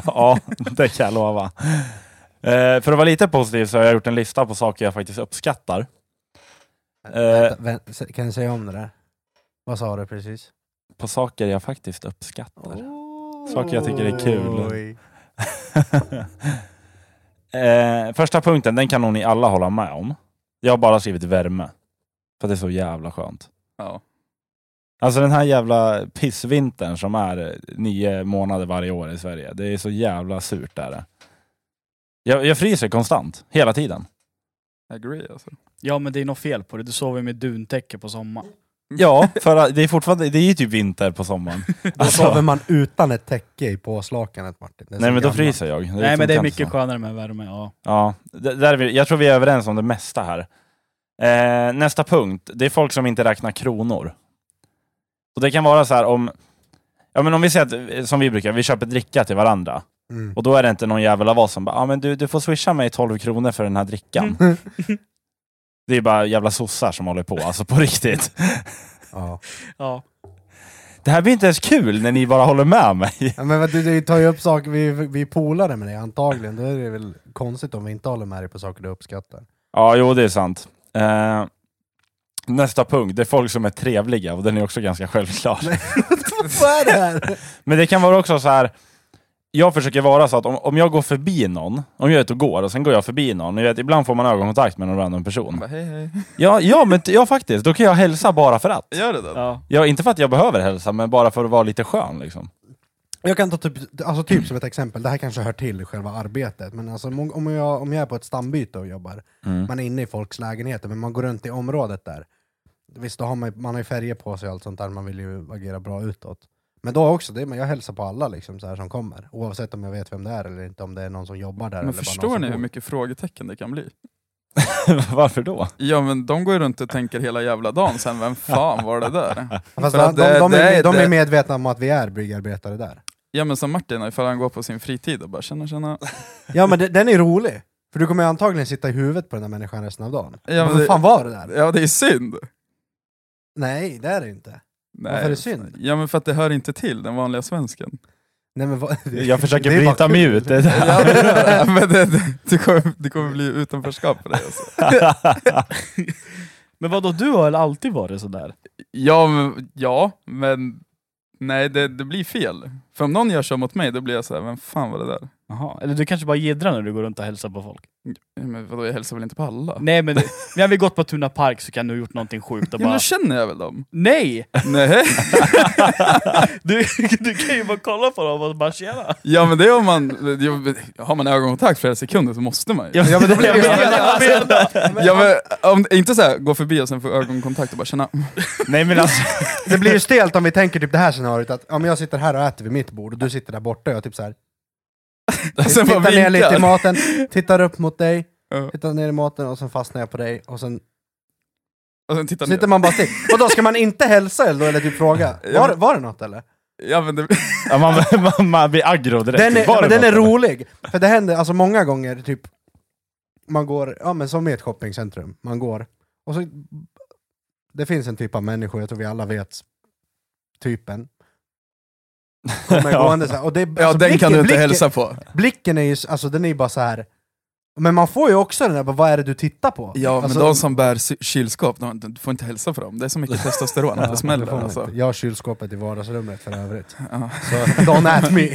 ja, det kan jag lova. Eh, för att vara lite positiv så har jag gjort en lista på saker jag faktiskt uppskattar. Eh,
Vänta, vänta, se- kan du säga om det där? Vad sa du precis?
på saker jag faktiskt uppskattar. Saker jag tycker är kul.
Oj.
Oh.
[laughs] eh, första punkten, den kan nog ni alla hålla med om. Jag har bara skrivit värme. För det är så jävla skönt.
Ja.
Alltså den här jävla pissvintern som är eh, nio månader varje år i Sverige. Det är så jävla surt där. Jag, jag fryser konstant, hela tiden.
[laughs]
Agree alltså.
ja, men det är något fel på det. Du sover med duntäcke på sommaren.
Ja, för att det är fortfarande, det är ju typ vinter
[laughs]
på sommaren.
Då sover man utan ett täcke i påslakanet Martin. Det är så
Alltså. Nej men då
gammalt.
fryser jag.
Nej, men det är
funkar
mycket
inte så.
skönare med värme. Ja.
liksom- Ja, d- där är vi, jag tror vi är överens om det mesta här. Eh, nästa punkt, det är folk som inte räknar kronor. Och det kan vara så här om, Ja men om vi säger att, eh, som vi brukar, vi köper dricka till varandra.
Mm.
Och då är det inte någon jävel av oss som bara ah, men du, du får swisha mig 12 kronor för den här
Mm.
drickan. det är bara jävla sossar som håller på, alltså på riktigt.
[laughs] Ja.
[laughs] Ja.
Det här blir inte ens kul när ni bara håller med mig.
Ja, men vad du, du tar ju upp saker, vi, vi är polare med dig antagligen, då är det väl konstigt om vi inte håller med dig på saker du
[laughs]
uppskattar.
Ja, jo det är sant. Eh, nästa punkt, det är folk som är trevliga och den är också ganska självklar.
Vad är det här?
Men det kan vara också så här. Jag försöker vara så att om, om jag går förbi någon, om jag är ute och går och sen går jag förbi någon, ni vet, ibland får man ögonkontakt med någon random person.
[laughs] Bara, hej hej.
Ja, ja, men t- ja faktiskt, då kan jag hälsa bara för att.
Gör det då?
ja.
Ja, inte för att jag behöver hälsa, men bara för att vara lite skön liksom.
Jag kan ta typ, alltså typ som ett exempel, det här kanske hör till själva arbetet, men alltså, om- om, jag, om jag är på ett stambyte och jobbar,
Mm.
man är inne i folks lägenheter, men man går runt i området där. Visst, då har man, ju- man har ju färger på sig och allt sånt där, man vill ju agera bra utåt. Men då också, det, men jag hälsar på alla liksom, så här, som kommer, oavsett om jag vet vem det är eller inte, om det är någon som jobbar där.
Men
eller bara
förstår
någon
ni
som
hur
bor.
mycket frågetecken det kan bli?
[laughs] Varför då? [laughs]
Ja men de går ju runt och tänker hela jävla dagen sen, vem fan var
[laughs]
det där?
Fast
För att
de, de,
det-
de,
det
är,
är-
de är
det-
medvetna om att vi är byggarbetare där.
Ja men som Martin, ifall han går på sin fritid och bara känna känna.
[laughs] Ja men de- den är rolig, för du kommer ju antagligen sitta i huvudet på den där människan resten av dagen.
Ja, men
Vad
det-
fan var det där?
Ja det är synd!
Nej, det är det inte.
Nej.
Varför är det synd?
Ja men för att det hör inte till den vanliga svensken.
Nej, men vad, [laughs] det-
Jag försöker
det är bara
bryta mig
kul.
ut.
[laughs]
[laughs]
Det där.
Ja, det, men det, det, det, kommer, det kommer bli utanförskap för dig alltså.
Men vadå, du har väl alltid varit sådär?
Ja, men, ja, men nej det, det blir fel. För om någon gör så mot mig, då blir jag så här, vem fan var det där?
Jaha. Eller du kanske bara jiddrar när du går runt och hälsar på folk?
Ja, Men vadå, jag hälsar väl inte på alla?
[laughs] Nej men, vi har vi gått på Tuna Park så kan du ha gjort någonting sjukt och
Ja, men
bara...
då känner jag väl dem?
Nej!
nej.
Du, [laughs] du kan ju bara kolla på dem och bara
[laughs]
tjena!
Ja men det är om man, jo, men har man ögonkontakt flera sekunder så måste man ju.
Ja,
[laughs]
men
[laughs]
då blir det-
Jag menar, jag menar.
Ja, men, om, inte så här, gå förbi och sen få ögonkontakt och bara känna, [laughs]
Nej men alltså,
Det blir ju stelt om vi tänker typ det här scenariot, att om jag sitter här och äter vid mitt bord och du sitter där borta och jag typ
[laughs]
så här.
sen bara
tittar ner lite i
vinkar.
maten, tittar upp mot dig,
Ja.
tittar ner i maten och sen fastnar jag på dig och sen
Och sen titta
sitter
ner.
man bara still. Och då ska man inte hälsa eller, eller typ fråga,
Ja,
var,
men-
var det något eller?
Ja, men det,
Alltså,
ja, man, [laughs] man, man blir aggro
typ
direkt.
Den är,
Var
men
det
den är
något?
rolig, för det händer alltså många gånger typ man går, ja men som i ett shoppingcentrum, man går och så det finns en typ av människor, jag tror vi alla vet typen. Kommer
[laughs] Ja.
gående så här, och det,
[laughs] ja
alltså,
den kan du inte
blicken,
hälsa på.
Blicken är ju, s- alltså den är ju bara så här. men man får ju också den där, bara, vad är det du tittar på?
Ja
alltså,
men de som bär sy- kylskåp, de, du får inte hälsa på dem. Det är
[laughs]
så mycket testosteron att det
det får
smäller
man
alltså.
inte. Jag har kylskåpet i vardagsrummet för övrigt,
Ja.
så [laughs] don't at me.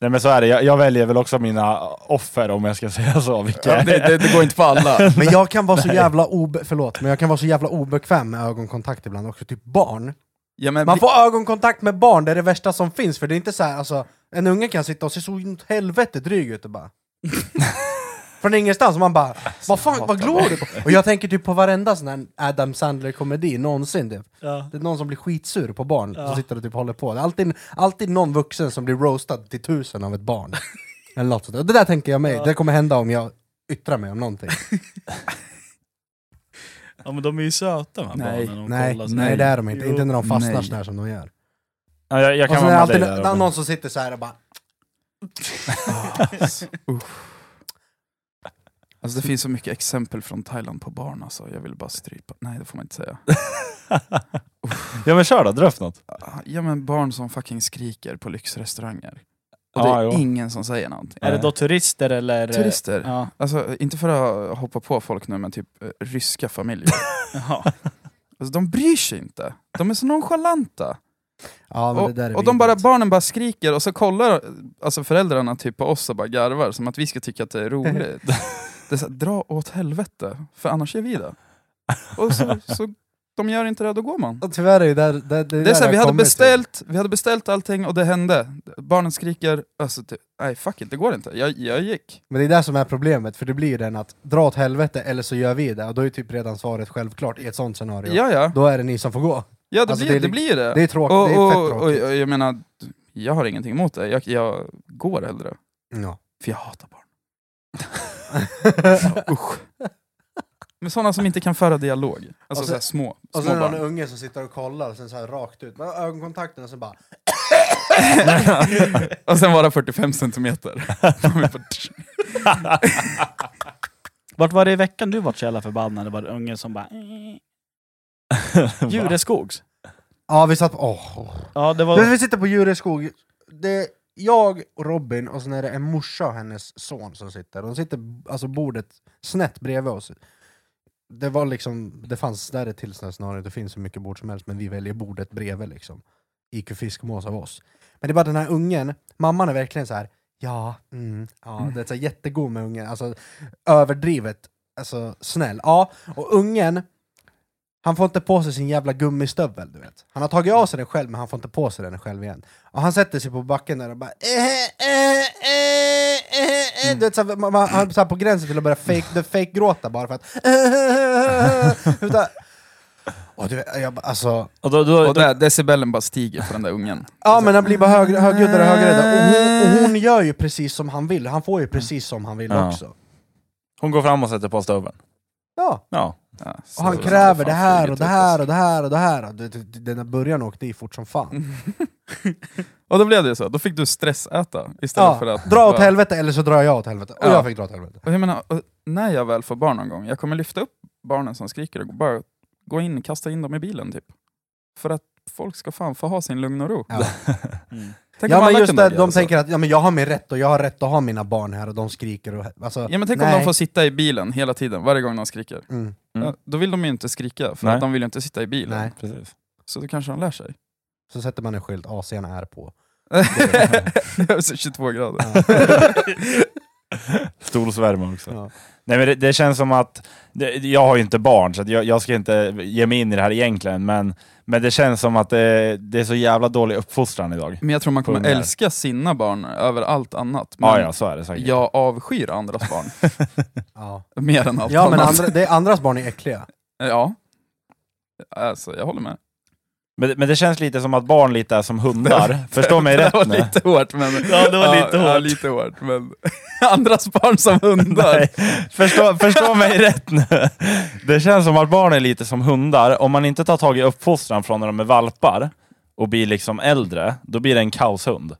Nej men så är det, jag, jag väljer väl också mina offer om jag ska [laughs] säga så. Vilka...
Ja, det, det, det går inte på alla.
Men jag kan vara så jävla obe- förlåt, men jag kan vara så jävla obekväm med ögonkontakt ibland också, typ barn.
Ja, men, [laughs]
Man får ögonkontakt med barn, det är det värsta som finns, för det är inte så här, alltså, en unge kan sitta och se så inåt helvete dryg ut och
[laughs]
bara... Från ingenstans, och man bara
Alltså,
vad fan, vad glor du på? Och jag tänker typ på varenda sån här Adam Sandler-komedi någonsin. Typ.
Ja.
Det är någon som blir skitsur på barn,
Ja.
som sitter och typ håller på. Det är alltid, alltid någon vuxen som blir roastad till tusen av
[laughs]
ett barn. Eller något sånt. Och Det där tänker jag mig,
Ja.
det kommer hända om jag yttrar mig om någonting.
[laughs] Ja men de är ju söta de här
Nej.
barnen. och
Nej,
kollar sig.
nej det är de inte.
Jo.
Inte när de fastnar
Nej.
sådär som de gör.
Ja, jag, jag
Och
kan
sen är
vara
det
med
alltid
dig där,
nå-
Robin.
någon som sitter så här och bara...
Alltså det finns så mycket exempel från Thailand på barn alltså, jag vill bara strypa. Nej det får man inte säga.
[laughs]
Ja men kör då, dröf något.
Ah, Ja men barn som fucking skriker på lyxrestauranger. Och det
Ja,
är
jo. [laughs]
ingen som säger någonting.
Är det då turister eller?
Turister.
Ja.
Alltså inte för att hoppa på folk nu men typ eh, ryska familjer.
Jaha.
Alltså de bryr sig inte. De är så nonchalanta.
Ja, men
och
det där är
och de
vidrigt.
bara, barnen bara skriker och så kollar alltså föräldrarna typ på oss och bara garvar som att vi ska tycka att det är roligt.
[laughs]
det är så här, dra åt helvete, för annars är vi det. Och så, så de gör inte det, då går man.
Och Tyvärr är det där... Det, det,
Det är
där
så här,
har
vi, hade
kommit till.
beställt, vi hade beställt allting och det hände. Barnen skriker, alltså, typ, nej fuck it, det går inte. Jag, jag gick.
Men det är det som är problemet, för det blir ju den att dra åt helvete eller så gör vi det, och då är ju typ redan svaret självklart i ett sånt scenario.
Ja, ja.
Då är det ni som får gå.
ja det,
Alltså,
blir,
det är
det
li-
blir det.
Det är tråkigt, det
och,
är
och,
fett
och,
tråkigt.
och jag menar, jag har ingenting emot det. Jag, jag går hellre. [laughs]
Ja.
För jag hatar barn. Usch. Men sådana som inte kan föra dialog. Alltså,
Och så-
så här små,
Och
små
sen är
barn.
det en unge som sitter och kollar och sen så här rakt ut, med ögonkontakten och sen bara
[laughs] och sen vara 45 centimeter. De är bara-
Vart var det i veckan du vart så jävla förbannad? Det var en unge som bara... Djureskogs.
Ja vi satt på, åh.
Ja, det
Men
var...
vi sitter på Jureskog, det är jag och Robin och sen är det en morsa och hennes son som sitter. De sitter alltså bordet snett bredvid oss. Det var liksom, det fanns där ett tillståndsscenario, det finns så mycket bord som helst men vi väljer bordet bredvid liksom. IQ Fiskmås av oss. Men det är bara den här ungen, mamman är verkligen så här. ja, mm, ja, det är så här jättegod med ungen, alltså överdrivet, alltså snäll. Ja, och ungen, han får inte på sig sin jävla gummistövel, du vet. Han har tagit av sig den själv, men han får inte på sig den själv igen. Och han sätter sig på backen där och bara... Eh, eh, eh, eh, eh. Du vet, så här, man, man, han är så här på gränsen till att börja fake, the fake gråta bara för att... "Eh, Utan, och du vet, jag, bara, alltså,
Och då, då,
Och där, decibelen bara stiger för den där ungen.
ja men han blir bara hög, högljuddare och högljuddare. Och hon, och hon gör ju precis som han vill, han får ju precis som han vill
Ja.
också.
hon går fram och sätter på stöveln.
Ja.
Ja.
Ja, så
Och han
det var
kräver
fan
det här
flyget
och det
ut,
här
alltså.
och det här och det här. Och du vet, Den där början åkte i fort som fan.
[laughs] Och då blev det ju så, då fick du stressäta istället
Ja,
för att...
dra åt
bara-
helvete eller så drar jag åt helvete. Och
Ja.
jag fick dra åt helvete.
Och jag menar, och när jag väl får barn någon gång, jag kommer lyfta upp barnen som skriker och bara gå in, kasta in dem i bilen typ. För att folk ska fan få ha sin lugn och ro.
Ja.
Mm.
Tänk om
ja men
alla
just
kunde alltså.
det,
göra
de
så.
tänker att ja, men jag har min rätt och jag har rätt att ha mina barn här och de skriker och... Alltså,
Ja men tänk om
nej.
de får sitta i bilen hela tiden, varje gång de skriker.
Mm,
Mm.
Ja, då vill de ju inte skrika, för
Nej.
att de vill ju inte sitta i bilen.
nej.
Precis.
Så då kanske de lär sig.
Så sätter man en skylt, AC'n är på.
[laughs] Så 22 grader.
Ja.
[laughs] Stolsvärme också.
[laughs]
Ja.
Nej, men det, det känns som att, det, jag har ju inte barn så att jag, jag ska inte ge mig in i det här egentligen, men, men det känns som att det, det är så jävla dålig uppfostran idag.
Men jag tror man kommer
Ungar.
älska sina barn över allt annat. Men
Ja, ja, så är det säkert.
jag avskyr andras barn [laughs]
Ja.
mer än allt
ja men
annat.
andra, det är andras barn är äckliga.
Ja. Alltså, jag håller med.
Men, men det känns lite som att barn lite är som hundar. Förstå
[laughs]
mig
det
rätt
var
nu.
lite hårt, men...
Ja, det var lite
Ja,
hårt.
lite hårt, men... [laughs] andras barn som hundar.
Nej, förstå, förstå mig rätt nu. Det känns som att barn är lite som hundar. Om man inte tar tag i uppfostran från när de är valpar och blir liksom äldre, då blir det en kaoshund.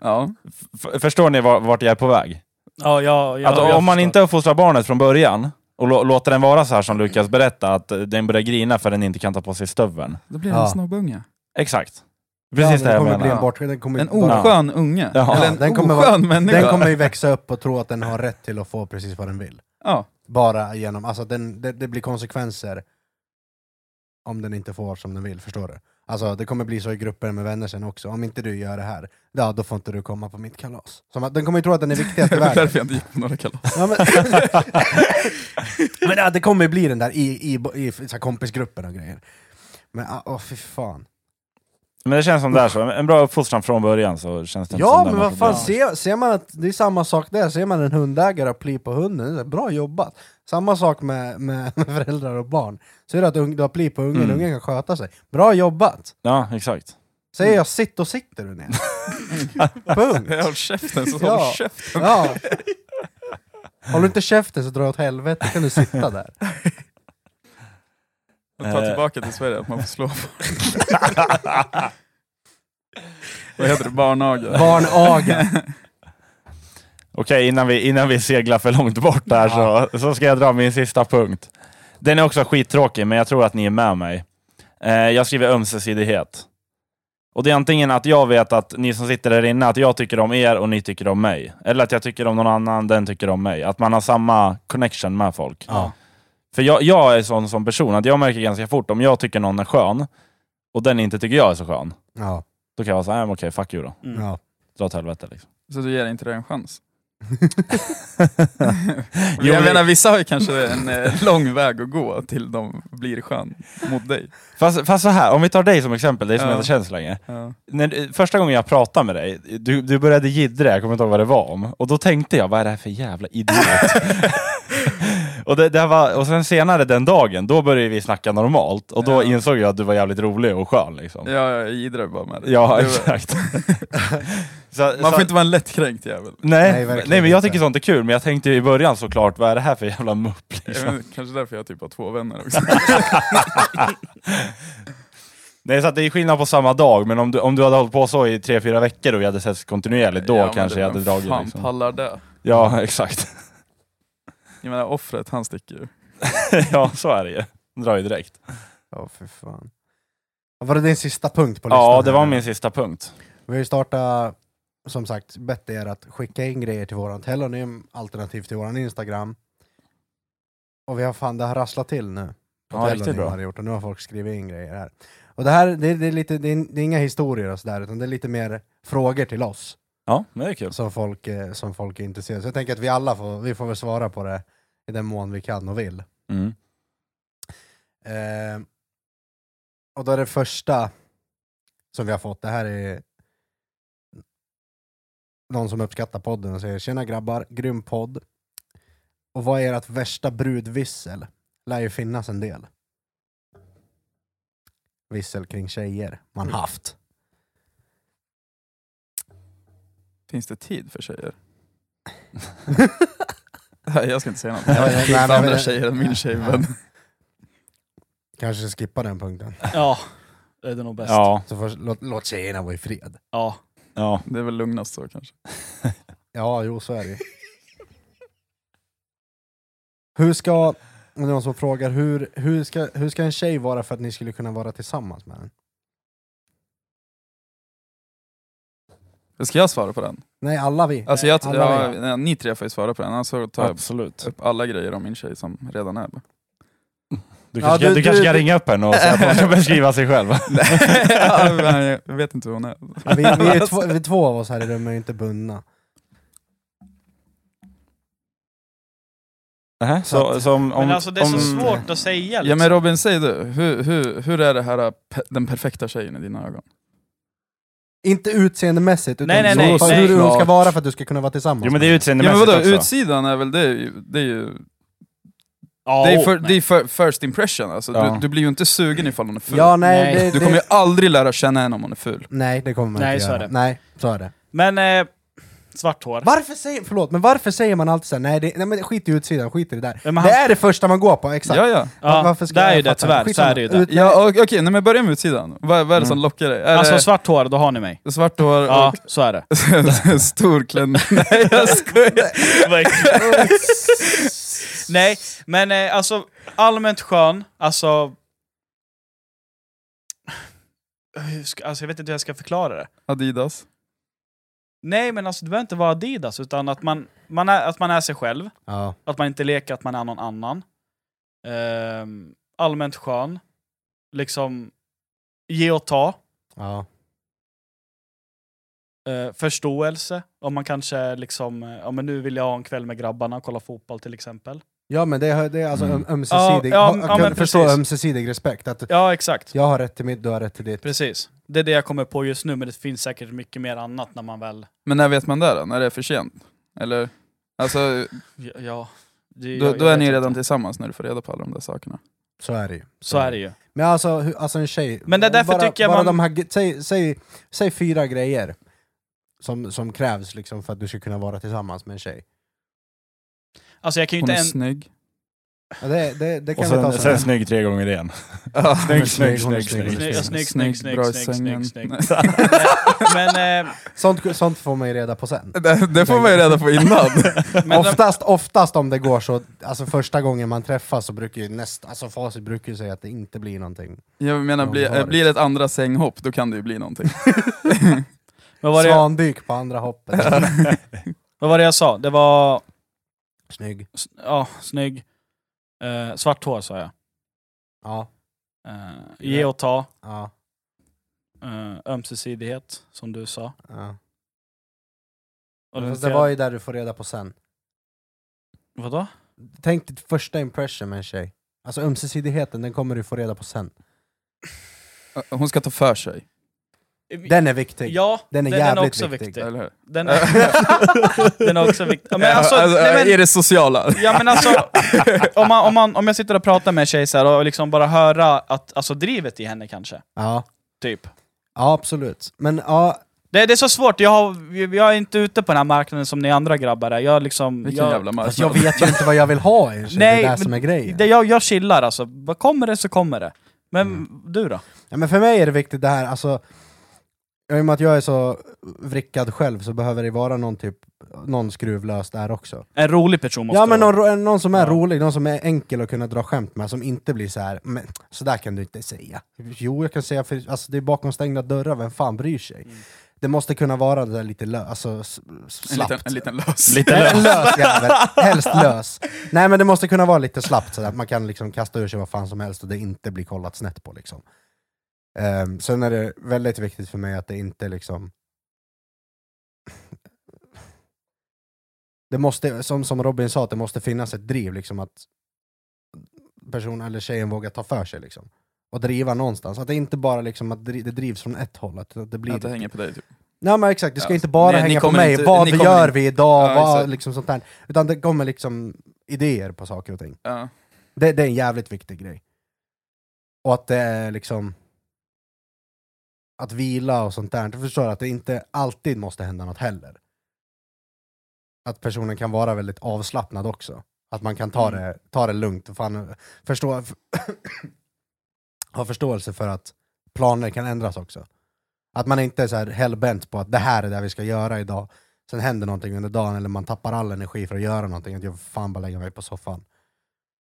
Ja.
F- förstår ni var- vart jag är på väg?
Ja, ja, ja,
att
jag
Alltså, om man
förstår.
inte uppfostrar barnet från början och lå- låter den vara så här som Lukas berättade, att eh, den börjar grina för den inte kan ta på sig stöveln.
Då blir
det
det
en Ja.
en snobbunge.
Exakt. Precis
ja,
det
den
jag
kommer bli
menar.
en bort, den kommer,
En oskön unge.
Ja.
Eller en
Den kommer vara-
oskön människa.
den kommer ju växa upp och tro att den har rätt till att få precis vad den vill.
Ja.
Bara genom, alltså den, det, det blir konsekvenser om den inte får som den vill, förstår du? Alltså det kommer bli så i grupper med vänner sen också, om inte du gör det här, ja då får inte du komma på mitt kalas. Som att, den kommer ju tro att den är viktigast
[laughs] Det
i
var
världen.
därför jag inte gick på några [laughs] kalas.
Ja, men [laughs] men ja, det kommer ju bli den där i, i, i, så här kompisgrupper och grejer. Men ah, åh fy fan.
Men det känns som det är så. En bra uppfostran från början så känns det inte
Ja
som det
men
är något
vad fan,
problem.
ser, ser man att det är samma sak där, ser man en hundägare och pli på hunden, det är så här, bra jobbat. Samma sak med, med, [laughs] med föräldrar och barn. Ser du att ung- du har pli på ungen,
Mm.
ungen kan sköta sig. Bra jobbat!
Ja, exakt. Mm.
Säger jag sitt, och sitter du ner.
[laughs]
Punkt!
Håll käften, så håll
Ja.
käften.
Ja. Håller du inte käften så drar jag åt helvete, kan du sitta
[laughs]
där.
Och ta
Eh.
tillbaka till Sverige att man får
[laughs]
slå folk. Vad heter det? Barnaga?
Barnaga.
Okej, innan vi, innan vi seglar för långt bort här så, så ska jag dra min sista punkt. Den är också skittråkig, men jag tror att ni är med mig. Eh, jag skriver ömsesidighet. Och det är antingen att jag vet att ni som sitter där inne, att jag tycker om er och ni tycker om mig. Eller att jag tycker om någon annan, den tycker om mig. Att man har samma connection med folk.
Ja.
För jag, jag är sån som person, att jag märker ganska fort om jag tycker någon är skön och den inte tycker jag är så skön.
Ja.
Då kan jag vara såhär, "Ah, men okej, fuck you då.
Mm.
ja.
Dra åt helvete liksom.
Så du ger inte det
[laughs]
en chans?
Jo,
jag
men-
menar, vissa har ju kanske en eh, lång väg att gå till de blir skön mot dig.
Fast, fast så här, om vi tar dig som exempel, dig som
Ja.
jag inte känner så länge.
Ja.
när, första gången jag pratade med dig, du, du
[laughs]
började jiddra, jag kommer inte ihåg vad det var om. Och då tänkte jag, vad är det här för jävla idiot? Och, det, det här var, och sen senare den dagen, då började vi snacka normalt och då
Ja.
insåg jag att du var jävligt rolig och skön liksom.
Ja, jag idrar bara med det.
Ja,
Det var- [laughs]
exakt. så,
Man
så-
får inte vara en
[laughs]
lättkränkt jävel.
Nej,
Nej,
nej,
verkligen
men jag
inte.
tycker sånt är kul, men jag tänkte ju i början såklart, vad är det här för jävla mupp?
Jag
Liksom?
vet inte, Kanske därför jag typ har två vänner också.
[laughs] Nej, så att det är skillnad på samma dag, men om du, om du hade hållit på så i tre, fyra veckor och vi hade setts kontinuerligt, då
Ja, men
kanske
det-
jag hade
vem
dragit.
fan
Liksom.
pallar det?
Ja, [laughs] exakt.
Jag menar offret, han sticker ju.
ja, så är det ju. Drar ju direkt.
Ja, för fan. Var det din sista punkt på listan?
Ja, det
här?
var min sista punkt.
Vi har ju startat, som sagt, bett er att skicka in grejer till våran telonym, alternativt till våran Instagram. Och vi har fan, det har rasslat till nu. på
Ja,
Telonym
riktigt bra.
har det gjort och nu har folk skrivit in grejer här. Och det här, det, det, är, lite, det, är, det är inga historier och sådär, utan det är lite mer frågor till oss
Ja, men det är kul.
som folk, eh, som folk är intresserade av. Så jag tänker att vi alla får, vi får väl svara på det i den mån vi kan och vill.
Mm.
Eh, och då är det första som vi har fått, det här är någon som uppskattar podden och säger Tjena grabbar, grym podd. Och vad är ert värsta brudvissel? Lär ju finnas en del. Vissel kring tjejer man
Mm. [laughs]
haft.
Finns det tid
[laughs]
för tjejer? Nej, jag ska inte säga något.
Ja,
Jag
ja,
har
nej,
skilt
men-
andra tjejer än min tjejvän.
[laughs] Kanske skippa den punkten.
Ja, det är nog bäst. Ja.
Ja,
Så först, låt, låt tjejerna vara i fred.
ja.
Det är väl lugnast så kanske.
Ja, jo så är det ju. Hur ska, om det är någon som frågar, hur, hur, ska, hur ska en tjej vara för att ni skulle kunna vara tillsammans med den?
Ska jag svara på den?
Nej, alla vi.
Alltså jag,
Alla
ja,
vill.
nej, ni tre får ju svara på den, annars så tar jag
absolut.
upp alla grejer om min tjej som redan är.
Du
Ja,
kanske,
du-
du, kanske
du-
kan ringa upp henne och säga
[laughs]
att hon ska beskriva sig själv.
Ja, men jag vet inte hur hon är.
Ja, vi, vi, är två, vi två av oss här i rummet är inte bundna.
[laughs] Nähä, så, som, om,
Men alltså det är så
om,
svårt att säga
Ja
liksom.
men Robin, säg du. Hur, hur, hur är det här eh, pe- den perfekta tjejen i dina ögon?
Inte utseendemässigt, utan
Nej, nej, nej,
så,
nej.
hur hon ska
Klart.
vara för att du ska kunna vara tillsammans
Jo men det
med
är
den.
Ja, men
utseendemässigt
vadå,
också.
utsidan är väl, det är ju, det är ju
ja,
det är,
åh,
för,
nej.
det är för, first impression alltså.
Ja.
Du, du blir ju inte sugen ifall hon är ful.
Ja, nej,
Nej.
Det,
du kommer ju
det,
aldrig lära känna henne om hon är ful.
nej, det kommer man
Nej,
inte
så är
göra.
det.
Nej, så är det.
Men eh, svart hår.
Varför säger, förlåt, men varför säger man alltid såhär, nej, det, nej men skit i utsidan, skit i det där.
Ja, men han-
Det är det första man går på, exakt.
Ja, ja.
Ja,
Varför ska
det är
jag
ju det
fatta?
tyvärr, så
Skitsamma.
är det ju det.
Ut-
ja och- Okej, nej, men börja med utsidan. Vad, vad är det som lockar dig? Är
Alltså
det
svart hår, då har ni mig.
svart hår
Ja, så är
[laughs]
det.
och stor klänning? Nej, jag skojar.
Nej, men eh, alltså allmänt skön, alltså... Hur ska- Alltså jag vet inte hur jag ska förklara det.
Adidas.
Nej, men alltså det behöver inte vara Adidas, utan att man, man, är, att man är sig själv.
Ja.
Att man inte leker att man är någon annan. Ehm, allmänt skön. Liksom, ge och ta.
Ja.
Eh, förståelse. Om man kanske liksom, eh, ja men nu vill jag ha en kväll med grabbarna och kolla fotboll till exempel.
ja, men det, är- det är alltså
Mm.
öm- ömsesidig,
Ja, ja,
ha-
ja,
kunna
men
förstå
precis.
ömsesidig respekt. Att
Ja, exakt.
jag har rätt till mitt, du har rätt till ditt.
Precis. Det är det jag kommer på just nu, men det finns säkert mycket mer annat när man väl...
Men när vet man det då? När det är för sent? Eller? Alltså,
Ja, Ja. Det,
då,
jag-
då
jag
är
vet
ni
inte.
redan tillsammans när du får reda på alla de där sakerna.
Så är det ju.
Så är det ju.
Men alltså, hur, alltså en tjej,
Men det är därför
bara,
tycker jag
bara
man-
de här, ge- säg, säg, säg fyra grejer som, som krävs liksom för att du ska kunna vara tillsammans med en tjej.
Alltså jag kan ju
Hon
inte en...
är snygg.
Ja, det, det, det kan
Och
vi ta
sen, sen
sen.
snygg tre gånger igen.
Ja.
Snygg, snygg,
hon är
snygg,
snygg, hon är
snygg.
Snygg, ja, snygg, snygg, snygg,
bra i
snygg,
sängen.
snygg, snygg.
[laughs]
[laughs] Men, eh,
Sånt, sånt får man ju reda på sen.
Det, det får man ju reda på innan.
men de,
oftast, oftast om det går så, alltså första gången man träffas så brukar ju nästa, alltså facit brukar ju säga att det inte blir någonting.
Jag menar,
Ja,
blir,
varit.
eh, blir det ett andra sänghopp, då kan det ju
[laughs]
bli någonting. [laughs]
vad, var det jag,
Svandyk på andra hoppet.
[laughs] vad var det jag sa? Det var...
Snygg.
s- Ja, snygg. Eh, svart hår sa jag.
Ja,
Eh, ge och ta.
ja,
Eh, ömsesidighet, som du sa.
ja.
Och
Fast det var ju där du får reda på sen.
Vadå?
Tänk ditt första impression med en tjej. Alltså ömsesidigheten, den kommer du få reda på sen.
Hon ska ta för sig.
Den är viktig.
Ja,
Den är jävligt viktig.
Eller hur?
[laughs]
Den är, den är också viktig. [laughs] Ja,
[laughs]
men alltså,
Alltså,
nej, men,
I det sociala.
Ja men alltså, om, man, om, man, om jag sitter och pratar med en tjej så här och liksom bara höra att, alltså drivet i henne kanske,
Ja,
typ.
ja absolut. Men ja,
Det, det är så svårt, jag, har, jag är inte ute på den här marknaden som ni andra grabbar är. Jag liksom...
Vilken
jag,
jävla
fast
marknad.
jag vet ju inte vad jag vill ha i en tjej.
Nej,
det är det
men
som är grejen.
det, jag, jag chillar alltså, Vad kommer det så kommer det. Men
Mm.
du då?
Ja, men för mig är det viktigt det här, alltså, i och med att jag är så vrickad själv så behöver det vara någon, typ, någon skruvlös där också.
En rolig person måste
Ja men
det
någon,
vara.
ro- någon som är
Ja.
rolig, någon som är enkel att kunna dra skämt med, som inte blir så här. Men, så där kan du inte säga. Jo jag kan säga, för alltså, det är bakom stängda dörrar, vem fan bryr sig? Det måste kunna vara det där lite lö- alltså, s-
Mm. En
slappt.
liten, en liten lös.
Lite
En lös jävel, helst lös. Nej men det måste kunna vara lite slappt sådär, att man kan liksom kasta ur sig vad fan som helst och det inte blir kollat snett på liksom. Um, sen är det väldigt viktigt för mig att det inte liksom... Det måste, som, som Robin sa, att det måste finnas ett driv liksom att personen eller tjejen vågar ta för sig liksom. Och driva någonstans. Att det inte bara liksom att dri- det drivs från ett håll, att det blir
[laughs] Att det hänger på dig typ.
Nej men exakt, det ska
Ja,
inte bara
ni- ni
hänga på
kommer
mig,
inte-
vad
ni
vi
kommer
gör
inte-
vi idag,
Ja,
vad,
exakt.
liksom sånt där. Utan det kommer liksom idéer på saker och ting.
Ja.
Det, det är en jävligt viktig grej. Och att det är liksom... Att vila och sånt där. Du förstår att det inte alltid måste hända något heller. Att personen kan vara väldigt avslappnad också. Att man kan ta,
Mm.
det, ta det lugnt och fan, förstå, ha förståelse för att planer kan ändras också. Att man inte är så här hellbent på att det här är det vi ska göra idag. Sen händer någonting under dagen eller man tappar all energi för att göra någonting. Att jag fan bara lägger mig på soffan.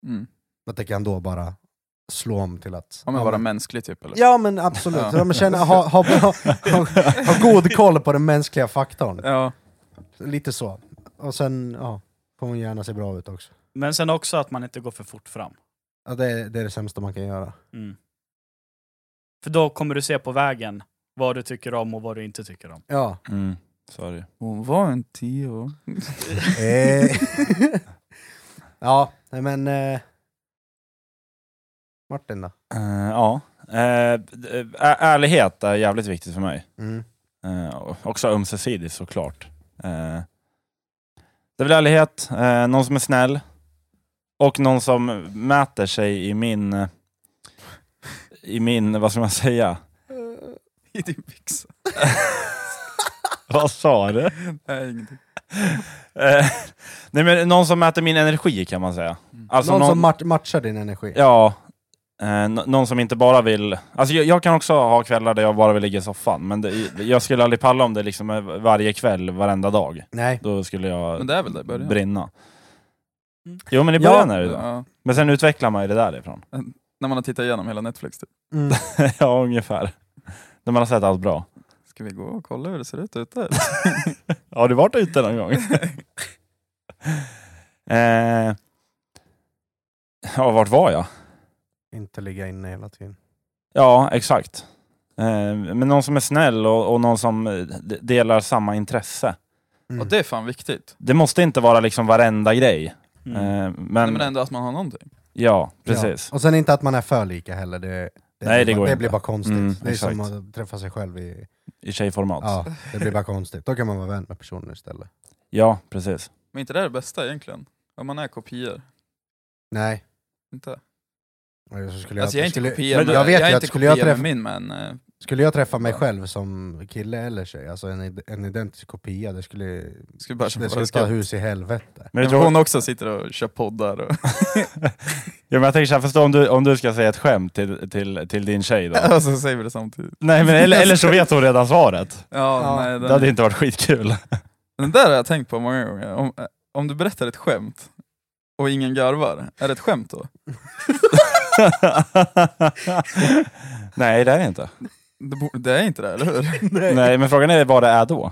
Mm.
Att det kan då bara slå om till att...
Ja, men vara mänsklig typ eller?
Ja men absolut,
Ja.
ja. men känna, ha, ha, ha, ha, ha god koll på den mänskliga faktorn.
Ja.
Lite så. Och sen ja, får hon gärna se bra ut också.
Men sen också att man inte går för fort fram.
Ja, det, är, det är det sämsta man kan göra.
Mm. För då kommer du se på vägen vad du tycker om och vad du inte tycker om.
Ja.
Mm. Sorry.
Hon var en
[laughs]
tio.
Eh. [laughs] ja, nej, men... Eh. Martin då?
Eh, ja. Eh, d- eh, ä- ärlighet är jävligt viktigt för mig.
Mm.
Eh, och också ömsesidigt såklart. Eh, det är väl ärlighet, eh, någon som är snäll och någon som mäter sig i min... eh, I min, vad ska man säga?
[laughs] I din
[laughs]
byxa.
Vad sa du?
Nej, ingenting.
Eh, nej men någon som mäter min energi kan man säga.
Mm.
Alltså
någon, som mat- matchar din energi?
Ja, eh, n- någon som inte bara vill... Alltså jag, jag kan också ha kvällar där jag bara vill ligga i soffan, men det, jag skulle aldrig palla om det liksom är varje kväll, varenda dag.
Nej.
Då skulle
Men
jag
det är väl det i början?
brinna.
Mm.
Jo men i
Ja.
början är det det.
Ja.
Men sen utvecklar man ju det därifrån. [laughs]
När man har tittat igenom hela Netflix typ.
Mm.
ja, ungefär. När man har sett allt bra. [laughs]
Ska vi gå och kolla hur det ser
[laughs]
ut ute?
Har du varit ute någon gång? eh, ja, vart var jag?
Inte ligga inne hela tiden.
Ja, exakt. Eh, men någon som är snäll och, och någon som eh, d- delar samma intresse.
Mm.
Och det är fan viktigt.
Det måste inte vara liksom varenda grej.
Mm.
Eh, men,
Nej, men ändå att man har någonting.
ja, precis.
Ja. Och sen inte att man är för lika heller, det, det,
Nej, det
blir, bara,
går
det
inte.
blir bara konstigt.
Mm,
det är som
exakt.
att träffa sig själv i...
I tjejformat. Ja,
Ja, det blir bara konstigt. Då kan man vara vän med personen istället.
precis.
Men inte det är det bästa egentligen? Om man är kopior.
Nej.
Inte?
eller så Skulle jag,
Alltså jag är inte
skulle,
kopia
men
med,
jag vet ju
är
att
inte
skulle jag
kopia med
träffa-
min men... eh,
skulle jag träffa mig själv som kille eller tjej, alltså en, id- en identisk kopia, det skulle,
Skulle bara
det
köpa
skulle ta hus i
[laughs]
helvete.
Men jag, tror,
Hon också sitter och kör poddar och... [laughs]
ja, men jag tänker så här, förstå om du, om du ska säga ett skämt till, till, till din
[laughs]
tjej då.
och så säger vi det samtidigt.
Nej, men eller, eller så vet hon redan svaret.
Ja,
Ja.
Nej,
Det hade
den,
inte varit skitkul.
den där har jag tänkt på många gånger. Om, eh, om du berättar ett skämt och ingen garvar, är det ett skämt då?
Nej, det är det inte.
Det, bo- det är inte
[laughs]
det, eller hur?
Nej, men frågan är vad det är då.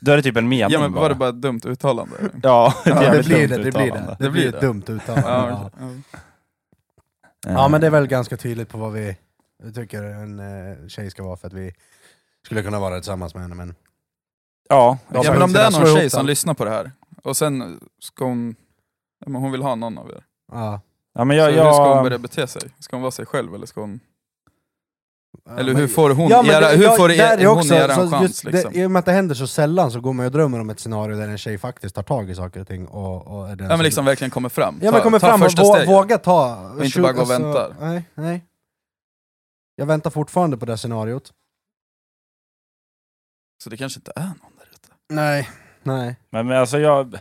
Då är det typ en mening
Ja men var det bara ett dumt [laughs] uttalande?
Ja, ett
Ja, det
jävligt
blir
dumt
det, det blir
uttalande.
det.
Det
Det
blir
blir ett
det.
dumt uttalande.
Ja,
ja.
okej. ja. Eh,
ja men det är väl ganska tydligt på vad vi tycker en eh, tjej ska vara för att vi skulle kunna vara tillsammans med henne men...
Ja,
Ja,
ja
exakt.
men om det är
Slå
någon
ihop
tjej som
dem.
lyssnar på det här, och sen ska hon... ja, Men hon vill ha någon av er.
Ja.
ja, men jag,
så hur ska hon
jag,
börja bete sig? Ska hon vara sig själv eller ska hon... Eller hur får hon
Ja, men
era,
det-
hur
ja,
får
där
er,
är
hon
också-
era en
så
chans?
just det-
liksom?
I och med att det händer så sällan så går man ju och drömmer om ett scenario där en tjej faktiskt tar tag i saker och ting och, och är den
ja men
som-
liksom verkligen kommer fram.
Ja men kommer
ta
fram och
första
vå-
steget.
våga ta... alltså,
Och inte bara gå och vänta.
Nej, nej. Jag väntar fortfarande på det här scenariot.
Så det kanske inte är någon där ute.
Nej. Nej.
Men, men alltså jag,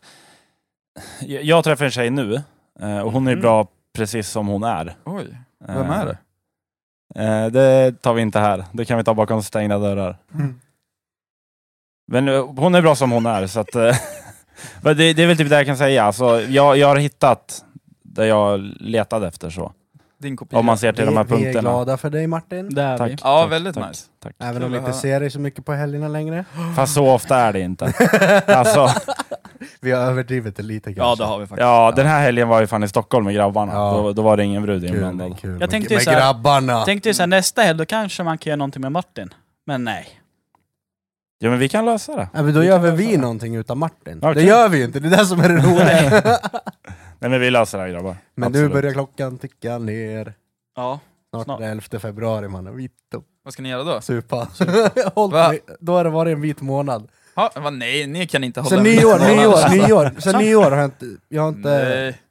jag... Jag träffar en tjej nu eh, och hon är
Mm.
bra precis som hon är.
Oj,
Eh,
vem är det?
Eh, det tar vi inte här. Det kan vi ta bakom stängda dörrar.
Mm.
Men eh, hon är bra som hon är, så att... eh, [laughs] men det, det är väl typ det jag kan säga. Alltså, jag, jag har hittat det jag letade efter så.
Din kopia?
Om man ser till de här
vi, vi är
punkterna.
glada för dig Martin.
Det är
Tack.
vi.
Ja,
tack,
väldigt
tack.
nice.
Även om
Kul
vi
att
inte
höra.
ser dig så mycket på helgerna längre.
Fast så ofta är det inte. Alltså,
[laughs] Vi har överdrivit det lite kanske.
Ja det har vi faktiskt.
ja, den här helgen var vi fan i Stockholm med grabbarna.
Ja.
Då, då var det ingen brud
Kul,
inblandad.
kul.
Jag tänkte ju
med
så här-
grabbarna!
Tänkte ju såhär, nästa helg då kanske man kan göra någonting med Martin. Men nej.
Ja, men vi kan lösa det.
Ja, men då gör väl vi någonting utan Martin?
Okej.
Det gör vi ju inte, det är det
[laughs]
som är det roliga.
Nej, men vi löser det här grabbar.
men nu
Absolut.
börjar klockan ticka ner.
Ja.
Snart,
Snart.
är det 11 februari mannen, vitt och
Vad ska ni göra då?
supa. [laughs] Håll-
Va?
då har det varit en vit månad.
Ha, va, nej, ni kan inte hålla
Sen
mig.
nyår, nyår,
[laughs]
nyår, sen nyår har jag inte... Jag har inte
Nej.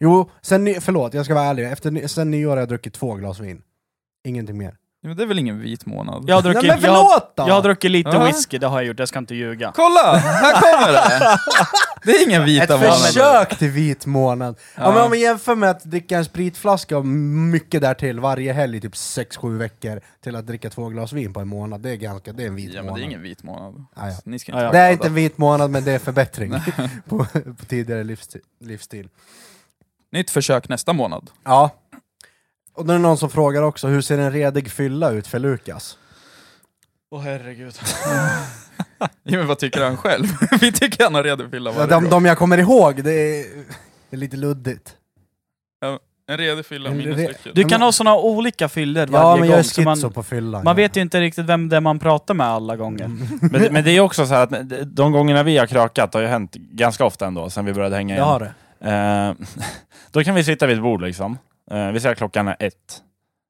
Jo, sen ny, förlåt jag ska vara ärlig, Efter, ny- sen nyår har jag druckit två glas vin. Ingenting mer.
Men det är väl ingen vit månad?
Jag har druckit,
Nej, men
jag, har-
förlåt då!
jag har druckit lite
Ja.
whisky, det har jag gjort, jag ska inte ljuga.
Kolla! Här
[laughs]
kommer det! Det är ingen vita
Ett
månader.
försök till vit månad. Ja.
Ja.
men om man jämför med att dricka en spritflaska och mycket därtill varje helg i typ 6-7 veckor till att dricka två glas vin på en månad, det är ganska, det är en vit
Ja, men
månad.
det är ingen vit månad.
Ah, ja.
Ni ska
Ah, ja.
inte vara
Det är
glada.
inte en vit månad men det
[laughs]
är förbättring [laughs] på, på tidigare livsstil. livsstil.
Nytt försök nästa månad.
Ja. Och då är det någon som frågar också, hur ser en redig fylla ut för Lukas?
Åh herregud.
Ja, men vad tycker han själv? [laughs] Vi tycker han har redo fylla
Ja,
varje
de,
gång.
de jag kommer ihåg, det är, det är lite luddigt.
En redig fylla
En re-
minus
Du
lycka.
Men-
kan ha sådana olika fyllor varje
Ja men jag är
gång. så
schizo
man,
på fyllan.
man vet ju inte riktigt vem det är man pratar med alla
[laughs]
gånger.
Men, men det är också så här att de gångerna vi har krökat, det har ju hänt ganska ofta ändå, sen vi började hänga
Jag
igen.
har det.
Eh, [laughs] då kan vi sitta vid ett bord liksom. Eh, vi säger att klockan är ett.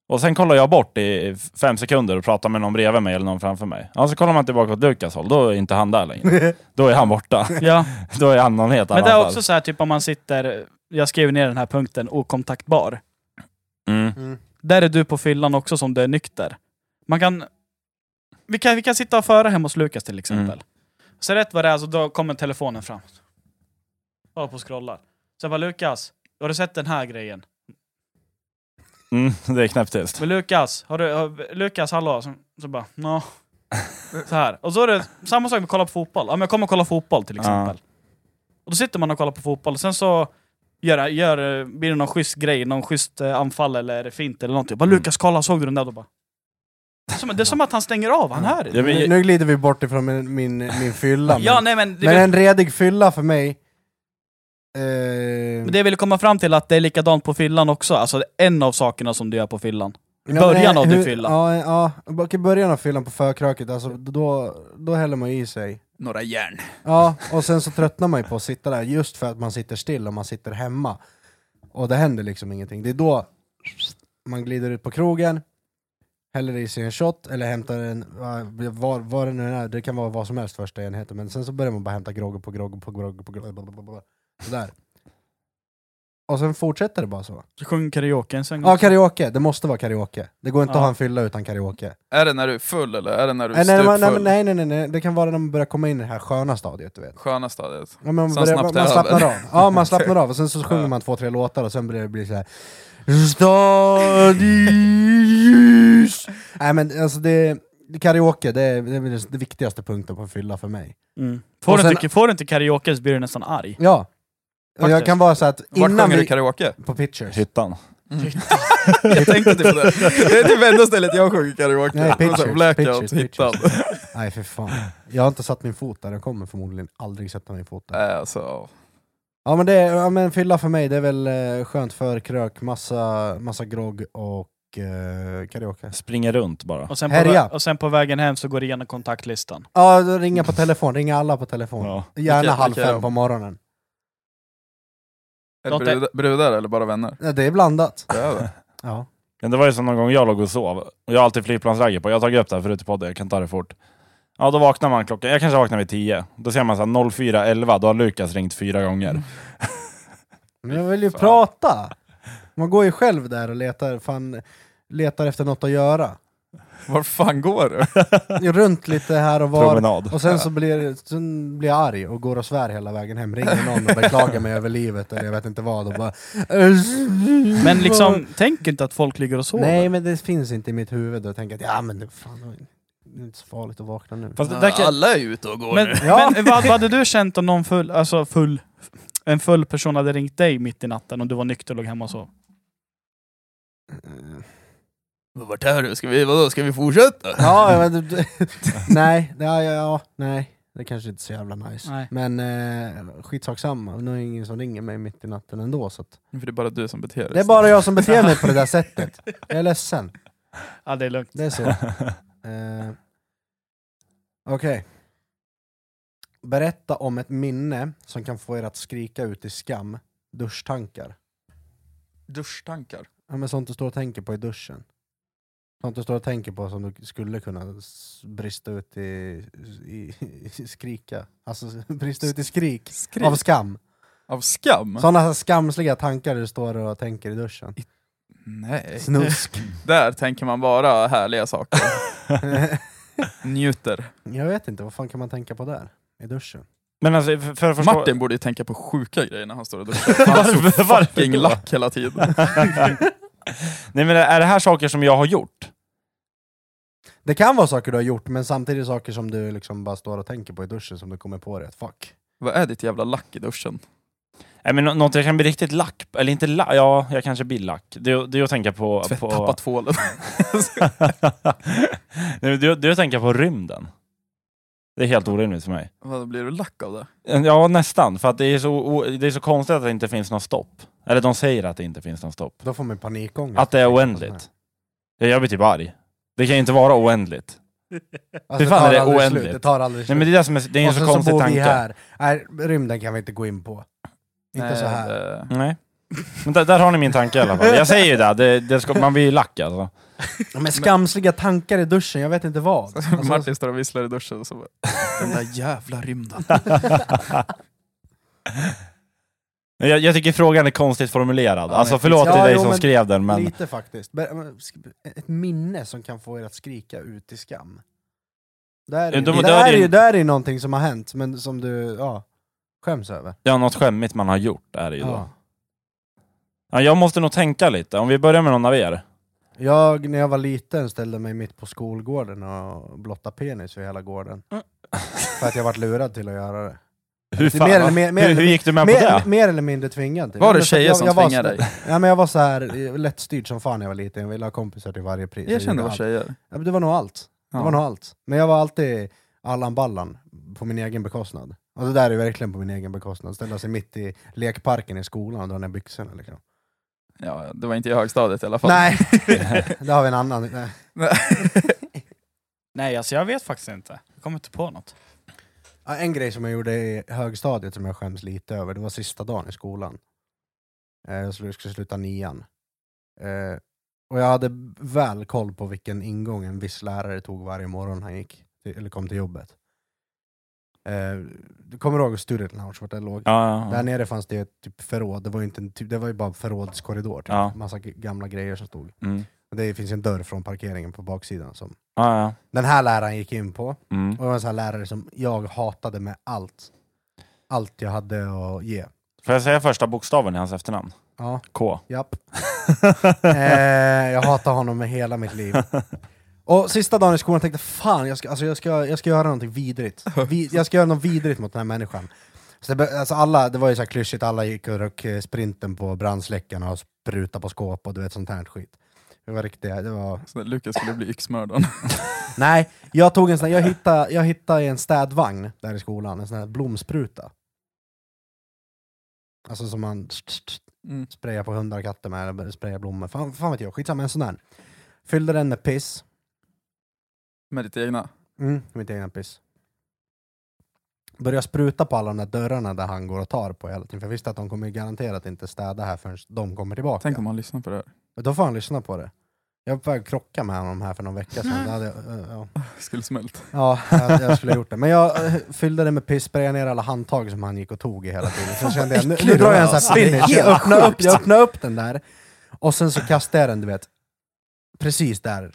Och sen kollar jag bort i fem sekunder och pratar med någon bredvid mig eller någon framför mig. Ja, så kollar man tillbaka åt Lukas håll, då är inte han där längre. Då är han borta. [laughs]
Ja.
Då är han någon helt
Men det är
annanstans.
också så här, typ om man sitter, jag skrev ner den här punkten, okontaktbar.
Mm.
Där är du på fyllan också som du är nykter. Man kan... Vi kan, vi kan sitta och föra hemma hos Lukas till exempel.
Mm.
Så rätt vad det är så då kommer telefonen fram. Jag håller på och scrollar. Så jag bara Lukas, har du sett den här grejen?
Mm, det är knäpptyst.
Men Lukas, har du, har, Lukas hallå? Så, så bara, nå. Så här. Och så är det samma sak med att kolla på fotboll. Ja, men jag kommer kolla fotboll till exempel. Och då sitter man och kollar på fotboll och sen så gör, gör, blir det någon schysst grej, någon schysst eh, anfall eller fint eller någonting. Jag bara
Mm.
Lukas kolla, såg du den där? Då bara, det, är som, det är som att han stänger av, han hör
Ja,
det.
[laughs]
men,
Nu,
jag,
nu glider vi bort ifrån min, min, min fylla. Men,
Ja, nej men det,
men
vill-
en redig fylla för mig... Eh,
men det jag ville komma fram till att det är likadant på fyllan också. Alltså en av sakerna som du gör på fyllan.
i
början av din fylla.
Ja, ja bak- i början av fyllan på förkröket, alltså, då, då häller man i sig.
Några järn.
Ja, och sen så tröttnar man ju på att sitta där just för att man sitter still och man sitter hemma. Och det händer liksom ingenting. Det är då man glider ut på krogen, häller i sig en shot eller hämtar en, va- vad vad det nu är, det kan vara vad som helst första enheten, men sen så börjar man bara hämta grogg på grogg på grogg på grogg, blablabla. sådär. Och sen fortsätter det bara så.
Sjung karaoke en sväng.
Ja, karaoke, det måste vara karaoke. Det går inte
Ja.
att ha en fylla utan karaoke.
Är det när du är full eller är det när du är
Nej, nej, man- nej,
stupfull?
men nej, nej, nej, nej, det kan vara när man börjar komma in i det här sköna stadiet, du vet.
Sköna stadiet.
Ja, men
Sen
man, börjar, man,
snabbt
man
över.
slappnar av. Ja, man slappnar av och sen så sjunger
[laughs] Ja.
man två, tre låtar och sen blir det bli så här. Stadius. Nej men alltså det, karaoke det är, det är väl den viktigaste punkten på en fylla för mig.
Mm. Får,
Och
du
sen-
inte, får du inte karaoke så blir du nästan arg.
Ja. Och jag
Faktiskt.
kan vara så att
Vart
innan
sjunger
vi...
du
Mm.
karaoke?
På pictures.
hyttan.
[laughs] Jag tänkte typ det. Det är typ enda stället jag sjunger karaoke.
Nej, pictures,
Och så Blackout,
pictures,
hittan.
Nej för fan. Jag har inte satt min fot där, jag kommer förmodligen aldrig sätta min fot där.
Nej, alltså.
Ja men, det, är- ja, men fylla för mig det är väl eh, skönt för krök, massa, massa grogg och eh, karaoke.
Springer runt bara.
Och sen, på,
Härja.
vä- och sen på vägen hem så går det igenom kontaktlistan.
Ja, då ringa på telefon, ringa alla på telefon.
Ja.
Gärna
Vilka-
halv
vilka är
fem
de?
på morgonen.
Är det
Låt det-
brudar, brudar eller bara vänner?
Ja, Det är blandat.
Det är det.
Ja.
Men det var ju som någon gång jag låg och sov. Och jag har alltid flygplansragge på. Jag har tagit upp det här förut i podden, jag kan ta det fort. Ja, då vaknar man klockan... Jag kanske vaknar vid 10. Då ser man så här 04.11, då har Lukas ringt fyra gånger.
Men jag vill ju prata! Man går ju själv där och letar, fan, letar efter något att göra.
Var fan går du?
Runt lite här och [laughs] var.
Promenad.
Och sen så blir, sen blir jag arg och går och svär hela vägen hem, ringer någon och beklagar mig över livet eller jag vet inte vad och bara...
Men liksom, tänk inte att folk ligger och sover.
Nej men det finns inte i mitt huvud och jag tänker att ja men det, fan, det är inte så farligt att vakna nu.
Fast det där kan...
Alla är ute och går
Men,
nu.
Ja.
men vad, vad hade du känt om någon full, alltså full, en full person hade ringt dig mitt i natten och du var nykter och låg hemma och sov?
Eh.
Vart är du? Ska vi, vadå, ska vi fortsätta?
Ja, [laughs] men du, du, nej, ja, ja, ja, nej. Det kanske inte är så jävla nice.
Nej.
Men eh, skitsak samma, nu är det ingen som ringer mig mitt i natten ändå. Så att,
För det är bara du som beter dig.
det är bara jag som beter mig på [laughs] det där sättet. Jag är ledsen.
Ja, det är lugnt.
Det är så. Eh, Okej. Berätta om ett minne som kan få er att skrika ut i skam. Duschtankar.
Duschtankar.
Ja, men sånt du står och tänker på i duschen. Sånt du står och tänker på som du skulle kunna s- brista ut i, i, i skrika. Alltså [laughs] brista ut i skrik.
Skrik.
Av skam.
Av skam?
Sådana skamsliga tankar du står och tänker i duschen. [laughs]
Nej.
Snusk.
Där tänker man bara härliga saker. Njuter.
jag vet inte, vad fan kan man tänka på där? I duschen?
[laughs] Men alltså, för, för att förstå...
Martin borde ju tänka på sjuka grejer när han står
[laughs]
och duschar. Han är så
Varför
fucking
då?
lack hela tiden.
[laughs] Nej men är det här saker som jag har gjort?
Det kan vara saker du har gjort, men samtidigt saker som du liksom bara står och tänker på i duschen som du kommer på det. Fuck.
Vad är ditt jävla lack i duschen?
Nej men nå- något jag kan bli riktigt lack Eller inte lack, ja jag kanske blir lack. Det, är- det är att tänka på...
Tvätt,
på...
tappa tvålen.
[laughs]
[laughs]
Nej, men det, är- det är att tänka på rymden. Det är helt orimligt för mig.
Vad blir du lack av det?
Eh, Ja nästan, för att det är så, o- det är så konstigt att det inte finns någon stopp. Eller de säger att det inte finns någon stopp.
Då får man panikångest.
Att det är oändligt. Ja, Jag blir typ arg. Det kan ju inte vara oändligt.
Alltså,
Fy fan,
tar
är det
aldrig
oändligt?
Slut. Det tar aldrig slut.
Nej men det är, det som är, det är en
Och
så
sen
konstig
bor vi
tanke.
här. Nej, rymden kan vi inte gå in på. Inte
Nej, eh,
så här.
det-
Nej. Men där, där har ni min tanke i alla fall. Jag säger ju det, det, det ska, man blir ju lack alltså.
Ja, Men skamsliga tankar i duschen, jag vet inte
[laughs]
vad. Alltså,
[laughs] Martin står och visslar i duschen och så bara, Den där jävla rymden.
Men Jag, jag tycker frågan är konstigt formulerad.
Ja,
alltså
men-
förlåt
Ja,
till dig
jo,
som
men-
skrev den men...
Lite faktiskt. Ber- men sk- Ett minne som kan få er att skrika ut i skam. Där är,
Ja, de-
ju-
det
där
var
är
din-
ju där är någonting som har hänt, men som du ja, skäms över.
Det är något skämmigt man har gjort är det ju då.
Ja.
Ja, jag måste nog tänka lite, om vi börjar med någon av er.
Jag, när jag var liten, ställde mig mitt på skolgården och blottade penis för hela gården.
Mm.
För att jag varit lurad till att göra det.
Hur,
Det är
fan,
mer eller- mer- mer
hur, hur
eller-
gick du med på
Mer,
det?
mer eller mindre tvingad. till.
Var
Men
det
för att
tjänger
jag-
som
jag var
tvingade
så-
dig?
Ja, men jag var så här eh, lättstyrd som fan när jag var liten, jag ville ha kompisar till varje pris.
Erkänn det
gjorde
var
allt.
tjejer.
Ja, men det var nog allt. Det
Ja.
var nog allt. Men jag var alltid Allan Ballan, på min egen bekostnad. Och det där är verkligen på min egen bekostnad. Ställa sig mitt i lekparken i skolan och dra ner byxorna. Liksom.
Ja, det var inte i högstadiet i alla fall.
Nej, [laughs] där har vi en annan. Nej.
Nej, alltså jag vet faktiskt inte. Jag kommer inte på något.
Ja, En grej som jag gjorde i högstadiet som jag skäms lite över, det var sista dagen i skolan. Eh, Jag skulle skulle sluta nian. Eh, Och jag hade väl koll på vilken ingång en viss lärare tog varje morgon han gick, till- eller kom till jobbet. Eh, Du kommer ihåg student lounge, vart det låg?
Ja,
Där
ja,
nere fanns det ett typ förråd, det var ju, inte en, typ, det var ju bara en förrådskorridor. Typ.
Ja.
Massa g- gamla grejer som stod.
ja. Mm.
Det finns ju en dörr från parkeringen på baksidan som
ja, ja.
den här läraren gick in på.
Mm.
Och det var en sån här lärare som jag hatade med allt. Allt jag hade att ge.
Får jag säga första bokstaven i hans efternamn?
Ja,
K.
japp. eh, jag hatar honom med hela mitt liv. Och sista dagen i skolan tänkte fan, jag ska, alltså jag ska, jag ska göra någonting vidrigt. Vi, jag ska göra något vidrigt mot den här människan. Så det, bör- alltså alla, det var ju så här klyschigt, alla gick och rök eh, sprinten på brandsläckarna och sprutade på skåp och du vet sånt här skit. Det var riktigt, det var...
Så Lukas skulle bli yxmördaren. [laughs]
Nej, jag tog en sån här, jag hittade, jag hittade i en städvagn där i skolan, en sån här blomspruta. Alltså som man
Mm.
sprayar på hundar och katter med, eller sprayar blommor. Fan, fan vet jag, skitsamma, en sån här. Fyllde den med piss.
Med ditt egna.
Mm, mitt egna piss. Började spruta på alla de där dörrarna där han går och tar på hela tiden, för jag visste att de kommer ju garanterat inte städa här förrän de kommer tillbaka.
Tänk om han lyssnar på det här.
Då får han lyssna på det. Jag var på väg att krocka med honom här för någon vecka sedan. Då hade jag, eh, ja.
Skulle smälta.
Ja, jag, jag skulle ha gjort det. Men jag eh, fyllde det med piss, sprayade ner alla handtag som han gick och tog i hela tiden. Sen kände jag, nu, nu drar jag en sån här finish. Jag öppnade, upp, jag öppnade upp den där, och sen så kastade jag den, du vet, precis där,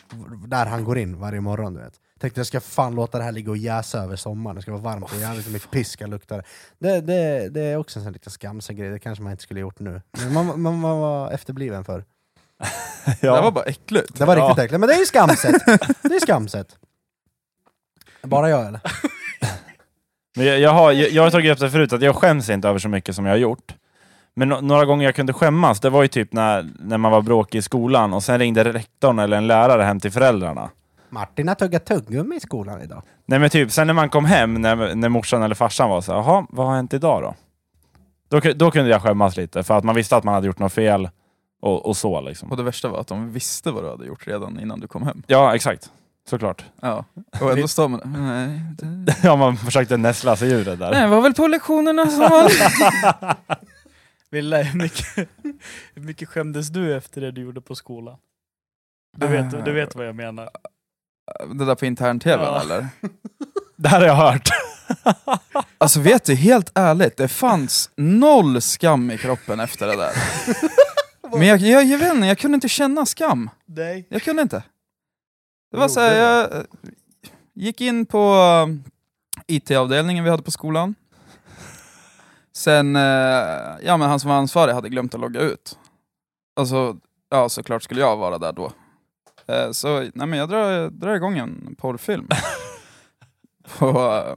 där han går in varje morgon, du vet. Tänkte jag ska fan låta det här ligga och jäsa över sommaren, det ska vara varmt och jävligt och mitt piss ska lukta. det. Det, det, det är också en sån här liten skamsen grej, det kanske man inte skulle ha gjort nu. Men man, man, man var efterbliven för.
Det här var bara äckligt.
Det var
Ja.
riktigt äckligt, men det är ju skamset. Det är skamset. Bara jag eller?
Men jag, jag, har, jag, jag har tagit upp det förut, att jag skäms inte över så mycket som jag har gjort. Men no några gånger jag kunde skämmas, det var ju typ när, när man var bråkig i skolan och sen ringde rektorn eller en lärare hem till föräldrarna.
Martin har tuggat tuggummi i skolan idag.
Nej men typ, sen när man kom hem, när, när morsan eller farsan var så här, jaha, vad har hänt idag då? då? ku- Då kunde jag skämmas lite, för att man visste att man hade gjort något fel och, och så liksom.
Och det värsta var att de visste vad du hade gjort redan innan du kom hem.
Ja, exakt. Såklart. [laughs]
Ja. Och ändå står man nej, det...
Ja, man försökte näsla sig ur det där.
nej, var väl på lektionerna
Alltså,
som vanligt.
[laughs] Wille, hur mycket, hur mycket skämdes du efter det du gjorde på skolan? [laughs] Du vet, du vet vad jag menar.
Det där på intern-tv
Ja.
eller?
Det här har jag hört.
Alltså vet du, helt ärligt, det fanns noll skam i kroppen efter
[laughs]
det där. Men jag, jag, jag vet inte, jag kunde inte känna skam.
[laughs] Nej.
Jag kunde inte. Det
Vad
var så här,
gjorde
jag eh, gick in på eh, IT-avdelningen vi hade på skolan. Sen, eh, ja men han som var ansvarig hade glömt att logga ut. Alltså, ja såklart skulle jag vara där då. Eh, Så, nej men jag drar, drar igång en porrfilm. på, eh,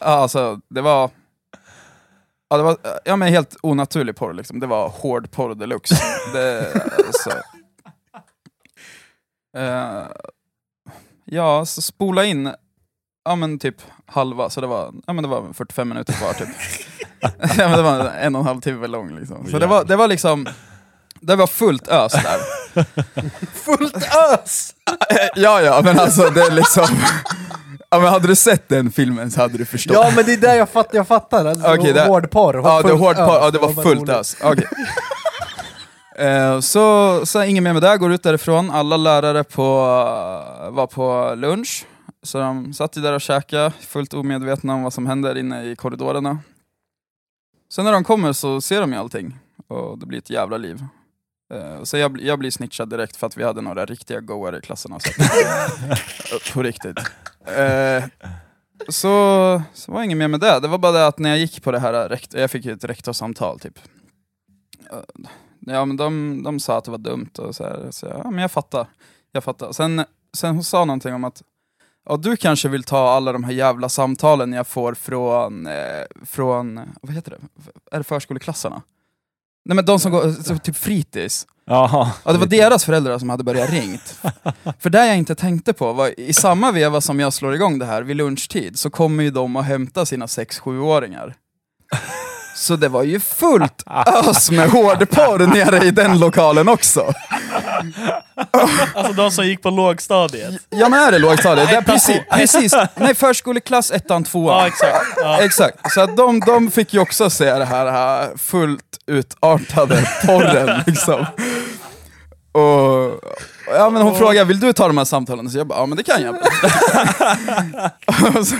ja, alltså det var, ja det var, eh, ja men helt onaturlig porr liksom. Det var hård porr deluxe. Det, alltså, Eh, ja, så spola in ja, men typ halva, så det var, ja, men det var 45 minuter kvar [laughs] typ. ja, men det var en och en halv timme lång liksom. Så det var, det var liksom, det var fullt ös där.
[laughs] Fullt ös!
Eh, [laughs] ja, ja, men alltså det är liksom... Ja, men hade du sett den filmen så hade du förstått.
Ja men det är det jag fattar, jag fattar. Alltså,
Okej, det-
Hårdporr. och
Ja, det,
fullt
hård
ös.
par, ja, det var
bara
fullt
roligt.
ös. Okej.
[laughs]
Eh, så, så inget mer med det, går ut därifrån. Alla lärare på, eh, var på lunch, så de satt ju där och käkade, fullt omedvetna om vad som händer inne i korridorerna. Sen när de kommer så ser de ju allting, och det blir ett jävla liv. Eh, så jag, bli- jag blir snitchad direkt för att vi hade några riktiga goare i klassen alltså. på riktigt. Eh, så, så var inget mer med det. Det var bara det att när jag gick på det här, rekt- jag fick ju ett rektorsamtal typ. Eh, Ja men de, de sa att det var dumt och så här, så jag, ja men jag fattar. Jag fattar. Sen, sen hon sa någonting om att ja, du kanske vill ta alla de här jävla samtalen jag får från, eh, från, vad heter det, är det förskoleklassarna? Nej men de som går, så typ fritids.
Ja.
Ja, det var deras föräldrar som hade börjat ringt. För det jag inte tänkte på var, i samma veva som jag slår igång det här, vid lunchtid, så kommer ju de att hämta sina 6-7-åringar. Så det var ju fullt ös med hårdporr nere i den lokalen också.
Alltså de som gick på lågstadiet.
Ja men är det lågstadiet? Det är
Ettan, [laughs]
precis, precis, nej förskoleklass, ettan, tvåan.
Ja, exakt. Ja.
Exakt, så att de, de fick ju också se det här, här fullt utartade
[laughs]
porren liksom. Och, ja, men hon frågade, vill du ta de här samtalen? Så jag bara, ja men det
[laughs]
kan jag. och så,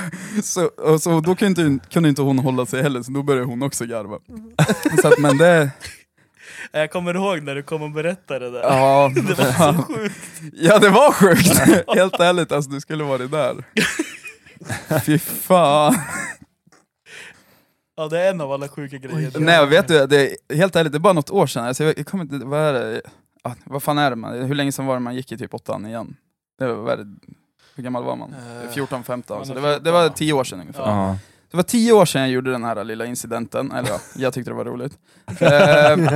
så, och så, då kunde inte, kunde inte hon hålla sig heller, så då började hon också garva.
Mm.
Så att, men det,
Jag kommer ihåg när du kom och berättade det där.
ja,
[laughs] Det var så sjukt.
ja det var sjukt. [laughs] Helt ärligt, alltså du skulle
[laughs]
varit där. Fy fan.
Ja, det är en av alla sjuka grejer.
Nej jag vet du, det är, helt ärligt, det är bara något år sedan. Alltså, jag, jag kommer inte, vad är det? Ah, vad fan är det man, hur länge sedan var det man gick i typ åttan igen? Det var, vad är det, hur gammal var man?
Eh,
14, 15, så
man
det
är
var, det
14,
var
ja.
tio år sedan ungefär.
Ja.
Ja.
Det var tio år sedan jag gjorde den här lilla incidenten, eller ja, jag tyckte det var roligt. Ehm,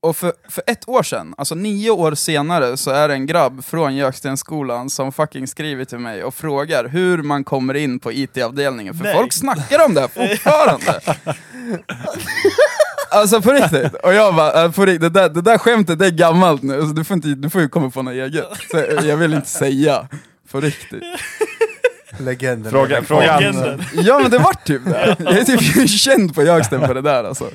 och för, för ett år sedan, alltså nio år senare, så är det en grabb från Gökstensskolan som fucking skriver till mig och frågar hur man kommer in på IT-avdelningen, för
Nej.
folk snackar om det fortfarande! Alltså på riktigt, och jag bara, äh, på riktigt, det, där, det där skämtet det är gammalt nu, alltså, du, får inte, du får ju komma på något eget. Så, jag jag vill inte säga, på riktigt.
Legenden.
Fråga, fråga,
Legenden.
Ja men det var typ det. Jag är typ känd på Jöksten för det där alltså.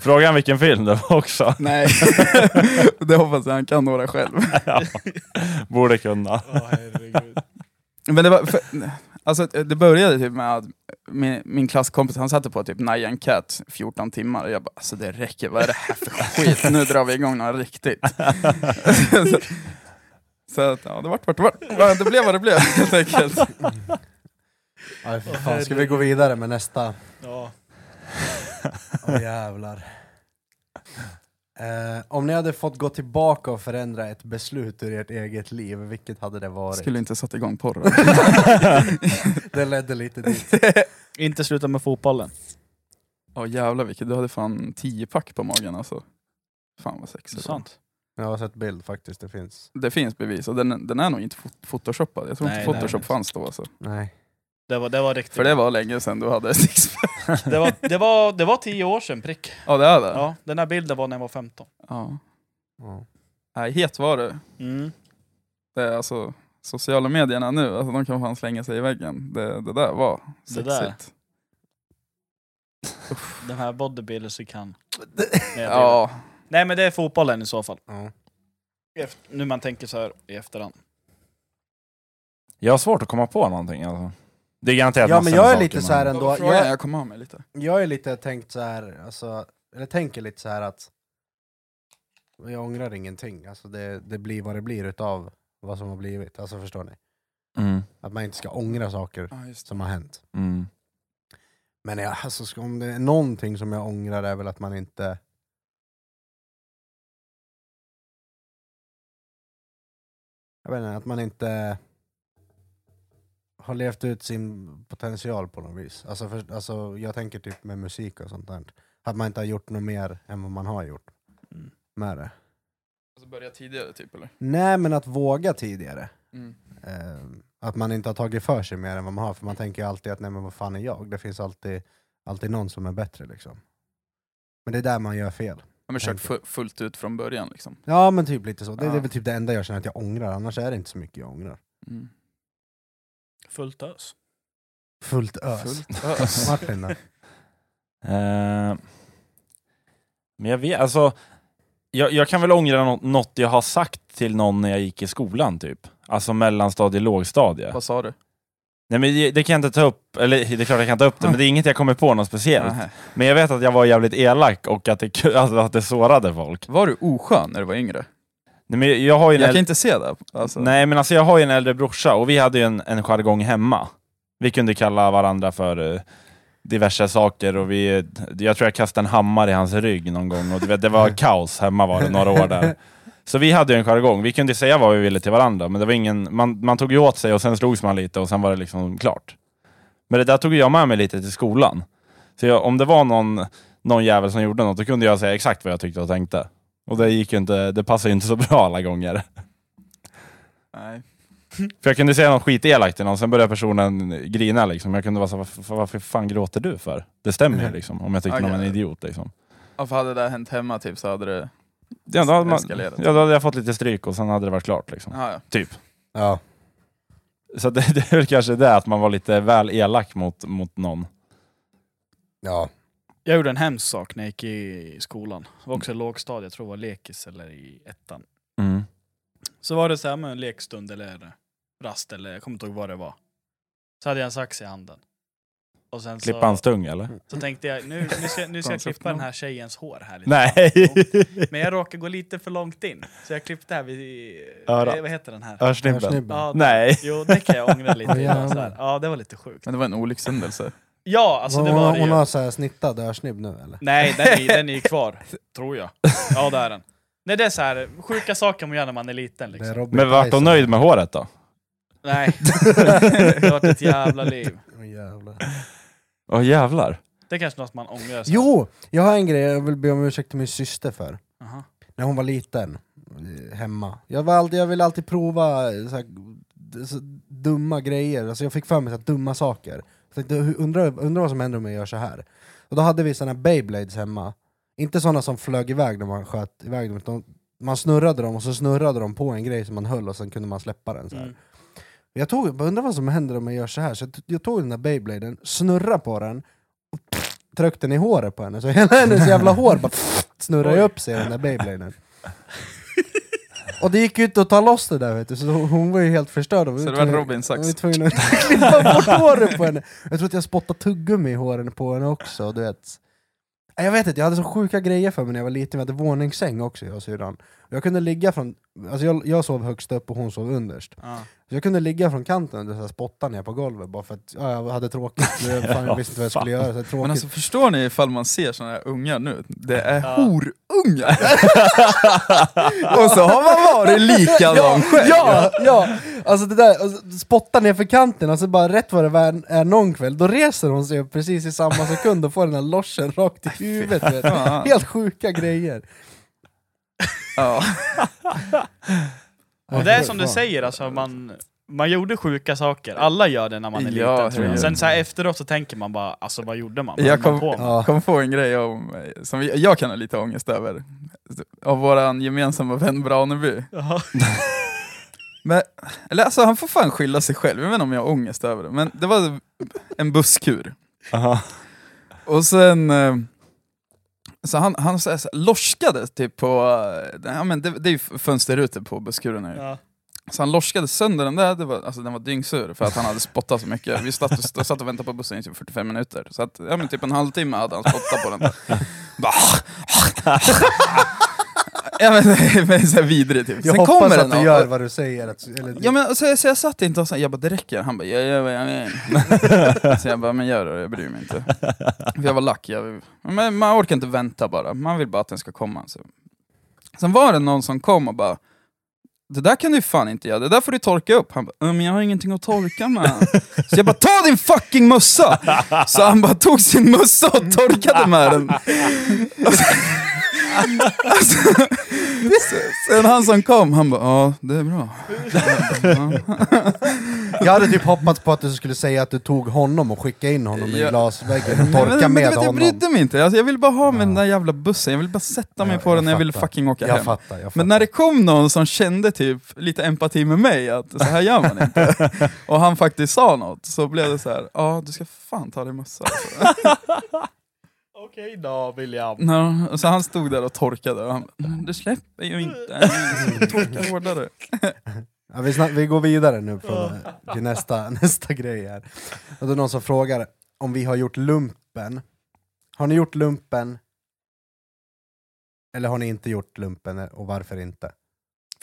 Frågan vilken film det var också.
Nej, [laughs] det hoppas jag han kan några själv.
ja. Borde kunna.
Åh, herregud.
Men det var... För, alltså, det började typ med att min, min klasskompis han satte på typ Nyan Cat 14 timmar och jag bara alltså det räcker, vad är det här för skit? Nu drar vi igång något riktigt. [laughs] så, så att, ja, det vart vart det vart. Ja, Det blev vad det blev helt enkelt.
Aj, för fan. Ska vi gå vidare med nästa?
Ja.
Åh jävlar. Eh, om ni hade fått gå tillbaka och förändra ett beslut ur ert eget liv, vilket hade det varit?
Skulle inte satt igång porren.
Det ledde lite dit.
Inte sluta med fotbollen.
Åh jävlar vilket, du hade fan 10 pack på magen alltså. Fan vad sexigt.
Sant.
Jag har sett bild faktiskt, det finns.
Det finns bevis och den, den är nog inte fot- photoshoppad. Jag tror
Nej,
inte
nej,
photoshop
nej.
fanns då alltså.
Nej.
Det var, det var riktigt.
För det var länge sedan du hade [laughs] six
det, var, det, var, det var tio år sedan prick.
Ja det är det?
Ja, den här bilden var när jag var 15.
Ja.
Ja.
Nej, het var du.
Mm.
Det är alltså, sociala medierna nu, alltså, de kan fan slänga sig i väggen. Det, det där var
Det
sexigt.
där. Den här bodybuilder så
[laughs]
kan... Nej, jag driver.
Ja,
Nej men det är fotbollen i så fall.
Ja.
Eft- Nu man tänker så här i efterhand.
Jag har svårt att komma på någonting alltså. Det är garanterat
Ja,
massor
men
med
jag är
saker,
lite så här ändå,
jag, jag,
jag,
jag kom av mig lite.
jag är lite tänkt så här, alltså, eller tänker lite så här att jag ångrar ingenting, alltså det, det blir vad det blir utav vad som har blivit, alltså förstår ni?
Mm,
Att man inte ska ångra saker
Ja, just det.
som har hänt.
mm.
Men jag, alltså, ska- om det är någonting som jag ångrar är väl att man inte... Jag vet inte, att man inte har levt ut sin potential på något vis. Alltså, för, alltså, jag tänker typ med musik och sånt där. Att man inte har gjort något mer än vad man har gjort
Mm.
med det.
Alltså, börja tidigare typ eller?
Nej, men att våga tidigare.
Mm.
Eh, att man inte har tagit för sig mer än vad man har, för man tänker ju alltid att nej men vad fan är jag? Det finns alltid, alltid någon som är bättre liksom. Men det är där man gör fel.
Ja, men kört
Tänker.
fu- fullt ut från början liksom.
Ja men typ lite så, det, det är
Ja.
väl typ det enda jag känner att jag ångrar, annars är det inte så mycket jag ångrar.
Mm.
Fullt ös.
Fullt ös.
Fullt ös.
Martin då?
Eh, men jag vet, alltså. Jag, jag kan väl ångra nå- något jag har sagt till någon när jag gick i skolan typ. Alltså mellanstadie, lågstadie.
Vad sa du?
Nej men det, det kan jag inte ta upp, eller det är klart jag kan ta upp det, men det är inget jag kommer på något speciellt.
Nähä.
Men jag vet att jag var jävligt elak och att det, alltså, att det sårade folk.
Var du oskön när du var yngre?
Nej, men jag har ju en
Jag
äl-
kan inte se det. Alltså.
Nej, men alltså jag har ju en äldre brorsa och vi hade ju en, en jargong hemma. Vi kunde kalla varandra för eh, diverse saker och vi, eh, jag tror jag kastade en hammare i hans rygg någon gång och det, det var kaos hemma var det några år där. Så vi hade ju en jargong, vi kunde säga vad vi ville till varandra, men det var ingen, man, man tog ju åt sig och sen slogs man lite och sen var det liksom klart. Men det där tog jag med mig lite till skolan. Så jag, om det var någon, någon jävel som gjorde något, då kunde jag säga exakt vad jag tyckte och tänkte. Och det gick ju inte, det passade ju inte så bra alla gånger.
Nej.
För jag kunde säga något skitelakt till någon, sen började personen grina liksom. Jag kunde vara såhär, varför, varför fan gråter du för? Det stämmer ju liksom, om jag tyckte någon var en
Mm. Okej.
idiot liksom.
Ja, för hade det där hänt hemma typ så hade det...
Ja, då, hade man,
Eskalerat.
ja, då hade jag fått lite stryk och sen hade det varit klart liksom.
Ja, ja.
[laughs] Ja.
Så det, [laughs] det är väl kanske det, att man var lite väl elak mot, mot någon.
Ja.
Jag gjorde en hemsk sak när jag gick i skolan. Det var också i lågstadiet, jag tror det var lekis eller i ettan.
Mm.
Så var det så här med en lekstund eller rast eller jag kommer inte ihåg vad det var. Så hade jag en sax i handen. Och sen
Klippa
så,
hans
Alltså-
tung eller?
Mm.
så tänkte jag, nu, nu ska, nu ska jag
Koncept
klippa den
noll.
här tjejens hår här lite.
Nej! [laughs]
Men jag råkade gå lite för långt in, så jag klippte här vid... eh,
Örat.
Vad heter den här?
Örsnibben?
Ja,
Nej!
Jo, det kan jag
[laughs]
ångra lite.
Åh, jävlar.
så här. Ja, det var lite sjukt.
Men det var en olyckshändelse.
Ja, alltså
hon,
det var
har-
det
hon
ju.
har så här snittad örsnibb nu eller?
Nej, den är, den är ju kvar. [laughs] tror jag. Ja, det är den. Nej, det är så här, sjuka saker man gör när man är liten
Det är
liksom.
Robin
Men vart hon
Tyson.
nöjd med håret då?
Nej, [laughs] det har varit ett jävla liv.
Åh, jävlar.
Åh jävlar!
Det är kanske något man ångrar. så här.
Jo! Jag har en grej jag vill be om ursäkt till min syster för.
Aha.
när hon var liten, eh, hemma. Jag, var alltid, jag ville alltid prova eh, så här, d- så dumma grejer, alltså jag fick för mig så här, dumma saker. Jag tänkte, hu- undrar undra vad som händer om jag gör så här. Och då hade vi såna här Beyblades hemma, inte såna som flög iväg när man sköt iväg dem, utan man snurrade dem och så snurrade de på en grej som man höll och sen kunde man släppa den. Så här.
Mm.
Jag tog, jag undrar vad som händer om jag gör så här. Så jag, t- jag tog den där Beybladen, snurrade på den, och pff, tryckte den i håret på henne, så hela hennes jävla hår bara snurrade ju upp sig i den där Beybladen. Och det gick ju inte att ta loss det där vet du, så hon var ju helt förstörd. Hon
Så det var
tvungen-
Robin
hon var
Sax.
tvungen att [laughs] klippa bort håret på henne. Jag tror att jag spottade tuggummi i håren på henne också, du vet. Nej, Jag vet inte, jag hade så sjuka grejer för mig när jag var liten, vi hade våningssäng också jag och syrran. Jag kunde ligga från, alltså jag, jag sov högst upp och hon sov underst.
Ja.
Så Jag kunde ligga från kanten och så här spotta ner på golvet bara för att ja, jag hade tråkigt.
[laughs]
Jag, fan, jag visste inte vad jag skulle göra. Så här tråkigt.
Men alltså förstår ni ifall man ser såna här unga nu? Det är
Ja.
horungar! [laughs] och så har man varit likadan själv!
Ja, ja! Alltså det där, alltså, spotta ner för kanten, alltså bara rätt vad det var- är någon kväll, då reser hon sig upp precis i samma sekund och får den där loschen
[laughs]
rakt i huvudet. Vet. du.
Ja.
[laughs] Helt sjuka grejer.
Ja.
Och det är som du säger, alltså, man, man gjorde sjuka saker. Alla gör det när man är
Ja,
liten tror jag.
herregud.
Sen så här efteråt så tänker man bara, alltså vad gjorde man? Vad
Jag
höll man
kom-
på med?
Ja.
kom på en grej om, som vi- jag kan ha lite ångest över, av våran gemensamma vän Braneby.
Jaha.
Men, eller alltså han får fan skylla sig själv, jag vet inte om jag har ångest över det, men det var en busskur.
Aha.
Och sen, eh, så han, han så här, så här, lorskade typ på, eh, ja, men det, det är ju fönsterrutor på busskuren här.
Ja.
Så han lorskade sönder den där, det var, alltså den var dyngsur för att han hade spottat så mycket. Vi satt och, satt och väntade på bussen i typ 45 minuter, så att, ja, men typ en halvtimme hade han spottat på den där. Bara, "Ah, ja men, men så här vidrig typ.
Jag
Sen
hoppas
kommer
att
den
du
och-
gör vad du säger. Att, eller,
Ja men alltså, så jag, så jag satt inte och sa, jag bara det räcker, han bara jag gör vad jag vill. Så jag bara, men gör det jag bryr mig inte. För jag var lack, jag, men man orkar inte vänta bara, man vill bara att den ska komma. Så. Sen var det någon som kom och bara, det där kan du fan inte göra, det där får du torka upp. Han bara, "Ja, men jag har ingenting att torka med. Så jag bara, ta din fucking mössa! Så han bara tog sin mössa och torkade med den. Alltså, sen han som kom, han bara, ja det är bra.
Jag hade typ hoppats på att du skulle säga att du tog honom och skickade in honom i
Ja.
glasväggen och
Men- men-
torka
men,
med
du vet, Jag
honom.
brydde mig inte, alltså, jag ville bara ha med den där jävla bussen, jag ville bara sätta mig
Ja,
på
jag
den när jag ville
fattar.
fucking åka
Jag
hem.
fattar, jag fattar.
Men när det kom någon som kände typ lite empati med mig, att så här gör man inte,
[laughs]
och han faktiskt sa något, så blev det så här, ja du ska fan ta dig mössa. [laughs] alltså."
Okej då William.
Ja, och så han stod där och torkade, och han bara, "Men det släpper ju inte, Jag ska torka hårdare.
Ja, vi, snack, vi går vidare nu från, till nästa, [laughs] nästa grej här. Och det är någon som frågar om vi har gjort lumpen. Har ni gjort lumpen? Eller har ni inte gjort lumpen och varför inte?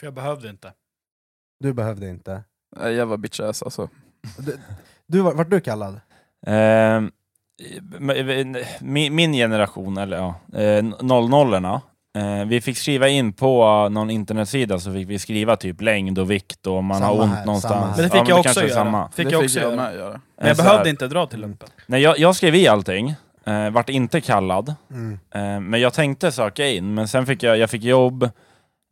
För jag behövde inte.
Du behövde inte.
Nej, Jag var bitch ass alltså.
Du, du var- vart du kallad?
Ehm, men- min, min generation, eller ja, 00-orna, eh, vi fick skriva in på någon internetsida så fick vi skriva typ längd och vikt och om man
Samma
har
här,
ont
samma här.
någonstans.
Men det fick
Ja,
jag
kanske
också
är
göra.
samma. Eh,
Fick
det
jag
fick
också
jag
göra.
med göra.
Men jag
Så här,
behövde inte dra till lumpen.
Nej, jag, jag skrev i allting, eh, vart inte kallad,
Mm.
eh, men jag tänkte söka in, men sen fick jag, jag fick jobb,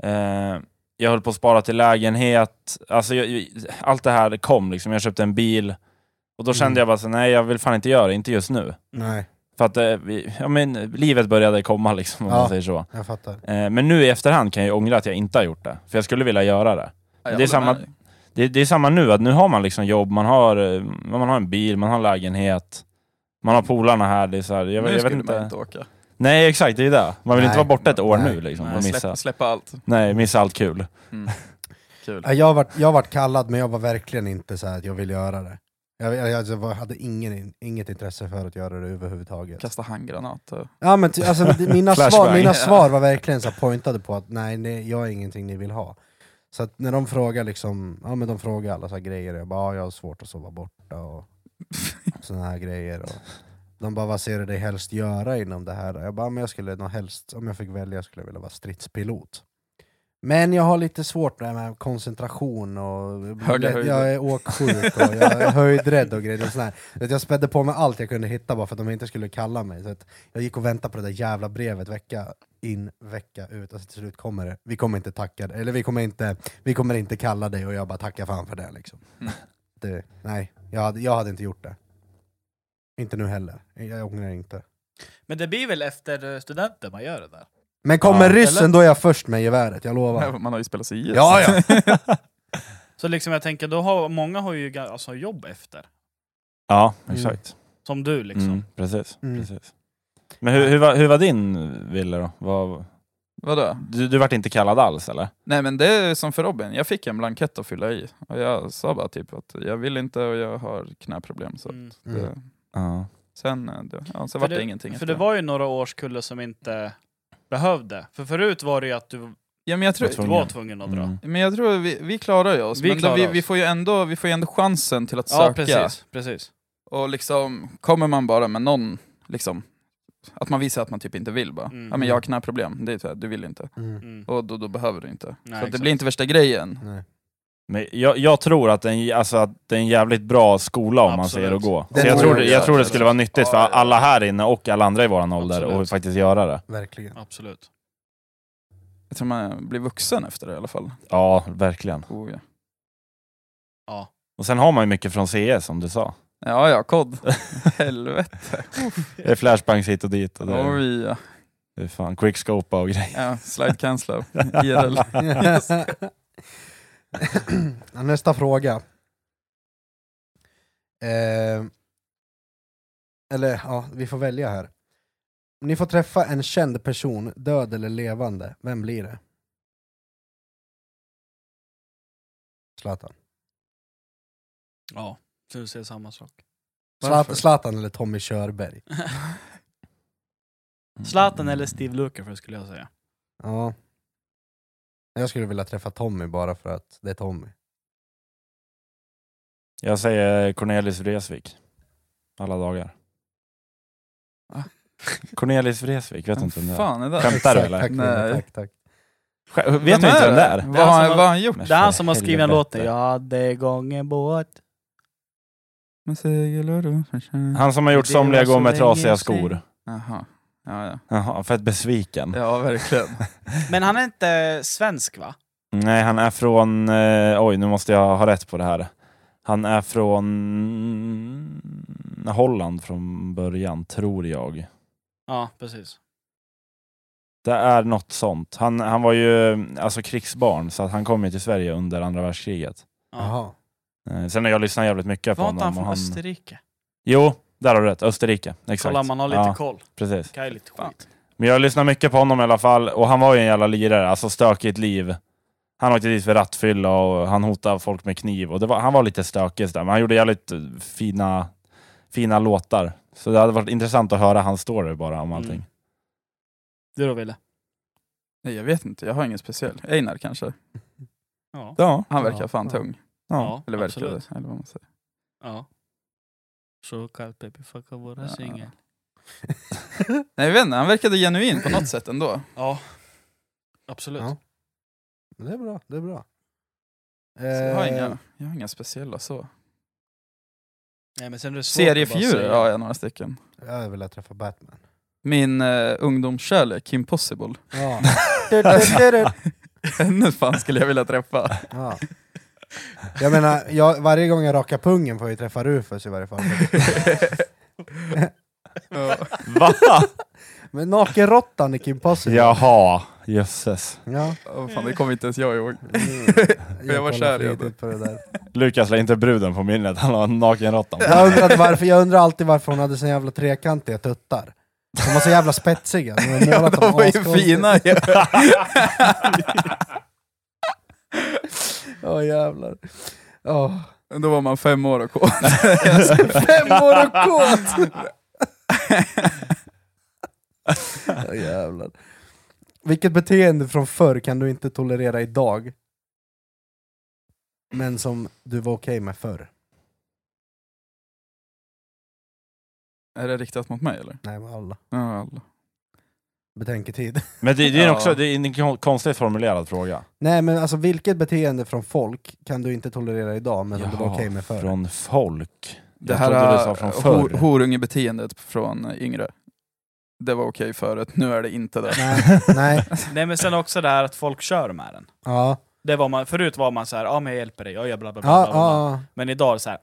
eh, jag höll på att spara till lägenhet, alltså jag, jag- allt det här kom liksom, jag köpte en bil, och då kände
Mm.
jag bara så, nej jag vill fan inte göra det, inte just nu.
Nej,
För att eh, vi, ja, men, livet började komma [laughs] liksom, om
Ja.
man säger så.
jag fattar.
Eh, men nu i efterhand kan jag ju ångra att jag inte har gjort det, för jag skulle vilja göra det.
Ja, jag
Det är
håller med
samma-
dig.
Det, det är samma nu, att nu har man liksom jobb, man har, eh, man har en bil, man har en lägenhet, man har polarna här. Det är så här jag,
Nu
jag vet
skulle man
inte.
inte åka.
Nej exakt, det är ju det. Man vill
Nej.
inte vara borta ett år
Nej.
nu liksom,
Nej,
och missa,
släpp, släppa allt.
nej, missa allt kul.
Mm. Kul.
Ja, Jag vart jag vart kallad men jag var verkligen inte så här att jag ville göra det. Jag, jag, jag alltså, var- hade ingen, in- inget intresse för att göra det överhuvudtaget.
Kasta handgranater.
Ja men ty, alltså, det- mina, svar,
Flashbang.
mina
Ja.
svar var verkligen så här pointade på att nej, nej, jag är ingenting ni vill ha. Så att när de frågar liksom, ja men de frågar alla så här grejer, jag bara, ja, jag har svårt att sova borta och såna här grejer. Och de bara, vad ser du dig helst göra inom det här? då?" Jag bara, men jag skulle nog helst, om jag fick välja, skulle jag vilja vara stridspilot. Men jag har lite svårt med, det här med koncentration och
Höga höjder.
jag är åksjuk och jag
[laughs]
är höjdrädd och grejer. Och sån här. Så att jag spädde på med allt jag kunde hitta bara för att de inte skulle kalla mig. Så att jag gick och väntade på det där jävla brevet vecka in, vecka ut. Alltså till slut kommer det. Vi kommer inte tacka dig, eller vi kommer inte, vi kommer inte kalla dig och jag bara tackar fan för det liksom.
Mm.
Det, nej, jag hade, jag hade inte gjort det. Inte nu heller. Jag ångrar inte.
Men det blir väl efter eh, studenten man gör det där?
Men kommer
Ja,
ryssen
eller?
då är jag först med geväret, jag
Nej,
lovar.
[laughs] Man har ju spelat sig i.
Ja, ja.
Så liksom jag tänker, då har, många har ju ga- alltså, jobb efter.
Ja,
Mm.
exakt.
Som du liksom.
Mm, precis.
Mm.
precis. Men hur, hur, var, hur var din villa då? Vad-
Vadå?
du, du vart inte kallad alls eller?
Nej men det är som för Robin, jag fick en blankett att fylla i. Och jag sa bara typ att jag vill inte och jag har knäproblem. Så
Mm.
Mm.
det,
Ja.
sen eh, det, ja, så
För
vart det,
det-
ingenting.
För
efter
det var ju några årskullar som inte behövde. För förut var det ju att du
ja, men jag tror,
Jag tror-
var tvungen att dra.
Mm.
men jag tror vi, vi klarar ju oss,
Vi
men då,
klarar
vi,
oss.
vi, får ju ändå, vi får ju ändå chansen till att
Ja,
söka.
precis. precis.
Och liksom, kommer man bara med någon, liksom, att man visar att man typ inte vill bara.
Mm.
Ja men jag har knäproblem, det är så här, du vill inte.
Mm.
Mm.
Och då, då behöver du inte.
Nej,
så att det
exakt.
blir inte värsta grejen.
Nej.
Men jag, jag tror att det, är en, alltså att det är en jävligt bra skola om man
Absolut.
säger att gå.
Det
Så jag,
tror
tror,
jag.
det- jag tror det skulle vara nyttigt för
Ja, ja.
alla här inne och alla andra i våran ålder
Absolut.
att faktiskt göra det.
Verkligen.
Absolut.
Jag tror man blir vuxen efter det i alla fall.
Ja, verkligen.
Oh, ja.
Ja.
Och sen har man ju mycket från CS som du sa.
ja, ja, kod. [laughs] Helvete.
Det är flashbangs hit och dit. Och det, är,
Oj, ja.
det är fan quickscopa och grejer.
ja. Slide cancelar. IRL.
[clears throat] Nästa fråga. Eh, eller ja, vi får välja här. Om ni får träffa en känd person, död eller levande, vem blir det? Zlatan.
Ja, du säger samma sak.
Zlat- Zlatan eller Tommy Körberg.
Zlatan eller Steve Lukather skulle jag säga.
Ja. Jag skulle vilja träffa Tommy bara för att det är Tommy.
Jag säger Cornelis Vreeswijk. Alla dagar.
Va?
Cornelis Vreeswijk, vet inte vem det är.
fan är det?
Skämtar du
Exakt,
eller?
Tack,
Nej.
Nej. tack, tack.
Skä- Vet du inte vem det är?
Vad har
Det är han
han,
som
vad har han gjort?
Men
Det är han
för
som har skrivit en
helvete.
låt. Jag hade igång en båt.
Med segel och ro.
Han som har gjort
Det
Somliga
var så
går med
länge
trasiga
sedan.
skor.
Jaha. Ja, ja.
Jaha, fett besviken.
ja, verkligen.
Men han är inte svensk va?
Nej, han är från... Eh, oj, nu måste jag ha rätt på det här. Han är från Holland från början, tror jag.
Ja, precis.
Det är något sånt. Han, han var ju alltså krigsbarn, så att han kom ju till Sverige under andra världskriget.
Ja.
Jaha.
Eh, sen har jag lyssnat jävligt mycket på
Var inte han
honom.
från
och han...
Österrike?
Jo, där har du rätt. Österrike. Exakt.
Kolla, man har lite
ja,
koll.
precis.
Kaj är lite skit.
Men jag lyssnar mycket på honom i alla fall, och han var ju en jävla lirare, alltså stökigt liv. Han åkte dit för rattfylla och han hotade folk med kniv. Och det var, han var lite stökig där, men han gjorde jävligt eh, fina, fina låtar. Så det hade varit intressant att höra hans story bara om allting.
Mm. Du då Wille?
Nej, jag vet inte, jag har ingen speciell. Einar kanske?
Ja.
Ja,
Han verkar
Ja,
fan
ja.
tung.
ja.
Eller verkar
absolut.
det, eller vad man säger.
Ja. Så kallt baby, fucka våra
Ja.
singel.
[laughs] Nej, jag vet inte, han verkade genuin på något sätt ändå.
Ja. Absolut.
Ja. Men det är bra, det är bra.
Så jag, har
Eh,
inga, jag har inga speciella så.
Nej, men sen är det svårt att bara
Seriefigurer
säga.
har jag några stycken.
Eh, Jag hade velat träffa Batman.
Min eh, ungdomskärlek,
[laughs]
Kim
[laughs]
Possible. [laughs]
Ja,
Henne fan skulle jag vilja träffa.
ja. Jag menar, jag, varje gång jag rakar pungen får jag ju träffa Rufus i varje fall. Mm.
Va?
Men nakenråttan i Kim Possible.
[laughs] Jaha, jösses.
ja.
[laughs] Åh, fan, det kommer inte ens jag ihåg.
Mm.
jag var
kollar
kär i
flitigt på det där.
Lukas la inte bruden på minnet, han har en nakenråtta.
Jag undrar, varför, jag undrar alltid varför hon hade såna jävla trekantiga tuttar. De var så jävla spetsiga. De, hade
Ja,
målat
[laughs] de
dem
var ju
askonstigt.
fina
[laughs]
ju.
Åh jävlar. Åh.
Då var man fem år och kåt.
Fem år och kåt! Åh, jävlar. Vilket beteende från förr kan du inte tolerera idag? Men som du var okej med förr?
Är det riktat mot mig eller?
Nej, men alla.
Ja, alla.
Betänketid.
Men det, det är
Ja.
också det är en kon- konstigt formulerad fråga.
Nej men alltså vilket beteende från folk kan du inte tolerera idag men som du var
Jaha,
okej med förr?
Från folk.
Det
Jag
här eh,
trodde du sa från
hor-
förr.
horungebeteendet från eh, yngre. Det var okej förut, nu är det inte det.
Nej, nej,
Nej, men sen också det här att folk kör med den.
ja.
Det var man, förut var man så här, ja men jag hjälper dig, jag gör bla bla bla.
Ja,
bla, bla.
ja,
Men idag är det så här,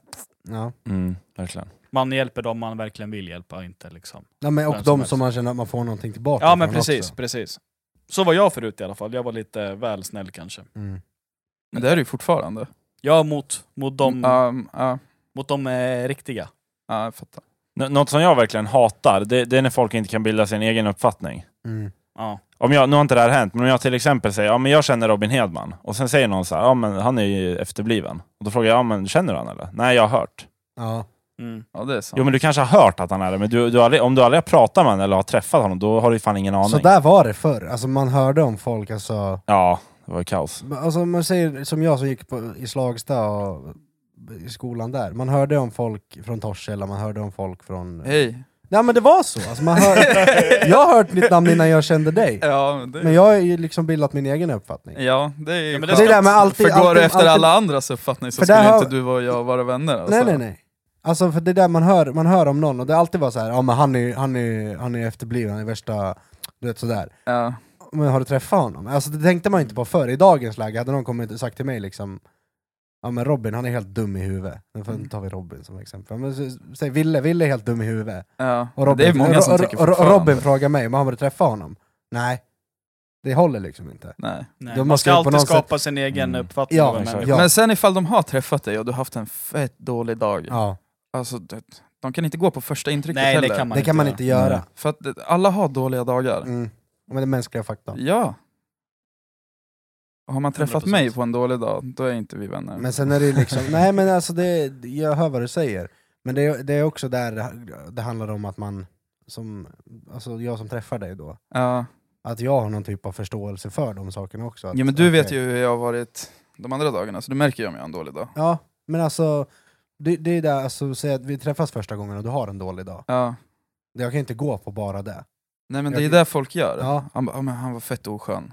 ja.
Mm, verkligen.
man hjälper dem man verkligen vill hjälpa, inte liksom.
ja men, och
Vem som
de
helst.
som man känner att man får någonting tillbaka
Ja men
från
precis,
också.
precis. Så var jag förut i alla fall, jag var lite väl snäll kanske.
Mm.
Men det är det ju fortfarande.
Jag mot, mot de,
Ja, ja,
mot de eh, riktiga.
ja, jag fattar.
Nå- något som jag verkligen hatar, det, det är när folk inte kan bilda sin egen uppfattning.
Mm.
Ja.
Om jag, nu har inte det här hänt, men om jag till exempel säger ja, men jag känner Robin Hedman och sen säger någon så här, ja, men han är ju efterbliven. Och då frågar jag, ja, men känner du han eller? Nej, jag har hört.
Ja.
Mm.
Ja, det är sant.
Jo, men du kanske har hört att han är det, men du, du har aldrig, om du aldrig har pratat med honom eller har träffat honom, då har du fan ingen aning.
Så där var det förr, alltså man hörde om folk alltså
Ja, det var ju kaos.
Alltså om man säger som jag som gick på, i Slagsta och i skolan där, man hörde om folk från Torshälla, man hörde om folk från...
Hej.
Nej men det var så! Alltså, man
[laughs]
hör... jag har hört ditt namn innan jag kände dig,
Ja, men det,
men jag har ju liksom bildat min egen uppfattning.
Eh. ja, det är ju
Ja, men det
skönt.
är det
där med alltid-
För går
alltid-
du efter
alltid-
alla andras uppfattning så
För
skulle
där har-
inte du och jag vara vänner. Alltså.
Nej nej nej. Alltså för det där man hör, man hör om någon och det alltid var så här, ja men han är, han är, han är efterbliven, han är värsta... Du vet sådär.
Ja.
Men har du träffat honom? Alltså det tänkte man ju inte på förr, i dagens läge hade någon kommit och sagt till mig liksom Ja men Robin han är helt dum i huvudet, nu får-
Mm.
nu tar vi Robin som exempel. Men, s- säg Ville, Ville är helt dum i huvudet.
Ja.
Och Robin,
det är många som
och,
tycker
och, och
fortfarande.
Robin frågar mig, men har du träffat honom? Nej. Det håller liksom inte.
Nej.
Nej,
Då
man
måste
ska
jag på
alltid
något sätt-
skapa sin egen
Mm.
uppfattning
Ja,
av en
exakt.
människa.
Ja.
Men sen ifall de har träffat dig och du har haft en fett dålig dag,
Ja,
alltså, det, de kan inte gå på första intrycket
Nej,
heller.
det kan man,
det kan man
göra.
inte göra.
Nej.
För att det- alla har dåliga dagar.
Mm. Men det är mänskliga faktorn.
Ja. Och Har man träffat
100%.
mig på en dålig dag, då är inte vi vänner.
Men sen är det ju liksom,
[laughs]
nej men alltså det, jag hör vad du säger. Men det, det är också där det- det handlar om att man, som, alltså jag som träffar dig då,
Ja.
att jag har någon typ av förståelse för de sakerna också. Att,
ja, men du vet
okej.
ju hur jag har varit de andra dagarna, så du märker ju om jag har en dålig dag.
Ja, men alltså, det, det är där, alltså, säg att vi träffas första gången och du har en dålig dag.
Ja.
Jag kan ju inte gå på bara det.
Nej men
Jag-
det är det folk gör. [laughs]
Ja.
Han bara, "Ja, men han var fett oskön.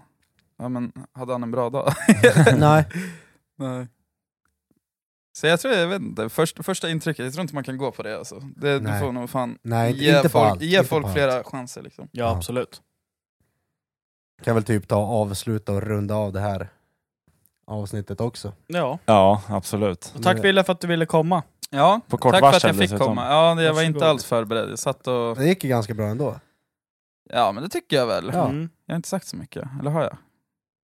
Ja men, hade han en bra dag? [laughs]
Nej.
Nej. Så jag tror, jag vet inte, först, första intrycket, jag tror inte man kan gå på det alltså. Det, du
Nej.
får nog fan
Nej, inte-
ge
inte på
folk,
allt,
ge
inte
folk
på allt.
flera chanser liksom.
Ja,
Ja.
absolut.
Kan väl typ ta och avsluta och runda av det här avsnittet också.
Ja.
Ja, absolut.
Och tack Wille för att du ville komma.
Ja,
På kort
tack för att
varsel
jag fick
dessutom.
komma. Ja, det- jag var
Varsågod.
inte alls förberedd. Jag satt och...
Det gick ju ganska bra ändå.
Ja men det tycker jag väl.
Ja.
Mm.
Jag har inte sagt så mycket, eller har jag?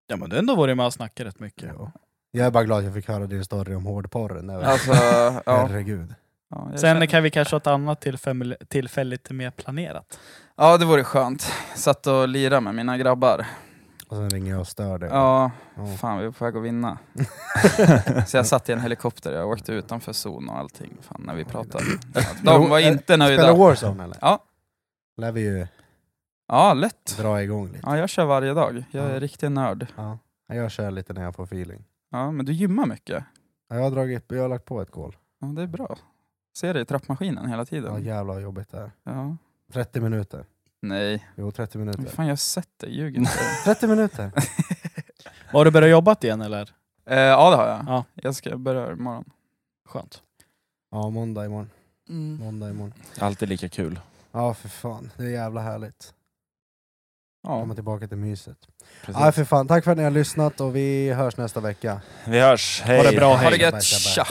ja men du har ändå varit med och snackat rätt mycket.
Ja. Jag är bara glad att jag fick höra din story om hårdporren. Det var- [laughs]
Alltså, ja. ja
Herregud.
jag
Sen
känner-
kan vi kanske ha ett annat tillfälle, tillfälle lite mer planerat.
Ja det vore skönt. Satt och lirade med mina grabbar.
Och sen ringer jag och stör dig.
Ja, [laughs]
Ja.
fan vi är på väg att vinna. Så jag satt i en helikopter, jag åkte utanför zon och allting fan, när vi
[laughs]
pratade. De var inte
Spelar
nöjda.
Warzone eller?
Ja.
Lär vi ju
Ja, lätt.
dra igång lite.
Ja, jag kör varje dag. Jag är
Ja.
riktig nörd.
Ja. Jag kör lite när jag får feeling.
Ja, men du gymmar mycket.
Ja, Jag har, dragit, jag har lagt på ett kol.
Ja, det är bra. Ser dig i trappmaskinen hela
Ja,
tiden.
jävlar vad jobbigt det är.
Ja.
30 minuter.
Nej,
Jo, 30
Men
minuter.
fan jag har sett dig, ljuger inte.
[laughs] 30
[laughs]
minuter!
Har du börjat jobba igen eller?
Eh, Ja, det har jag.
Ja.
Jag ska börja imorgon.
Skönt.
Ja, måndag imorgon. Måndag imorgon.
Alltid lika kul.
Ja, för fan. Det är jävla härligt.
Ja.
Komma tillbaka till myset.
Precis.
Ja, för fan. Tack för att ni har lyssnat och vi hörs nästa vecka.
Vi hörs, hej!
det bra,
Ha det
hej.
gött, tja!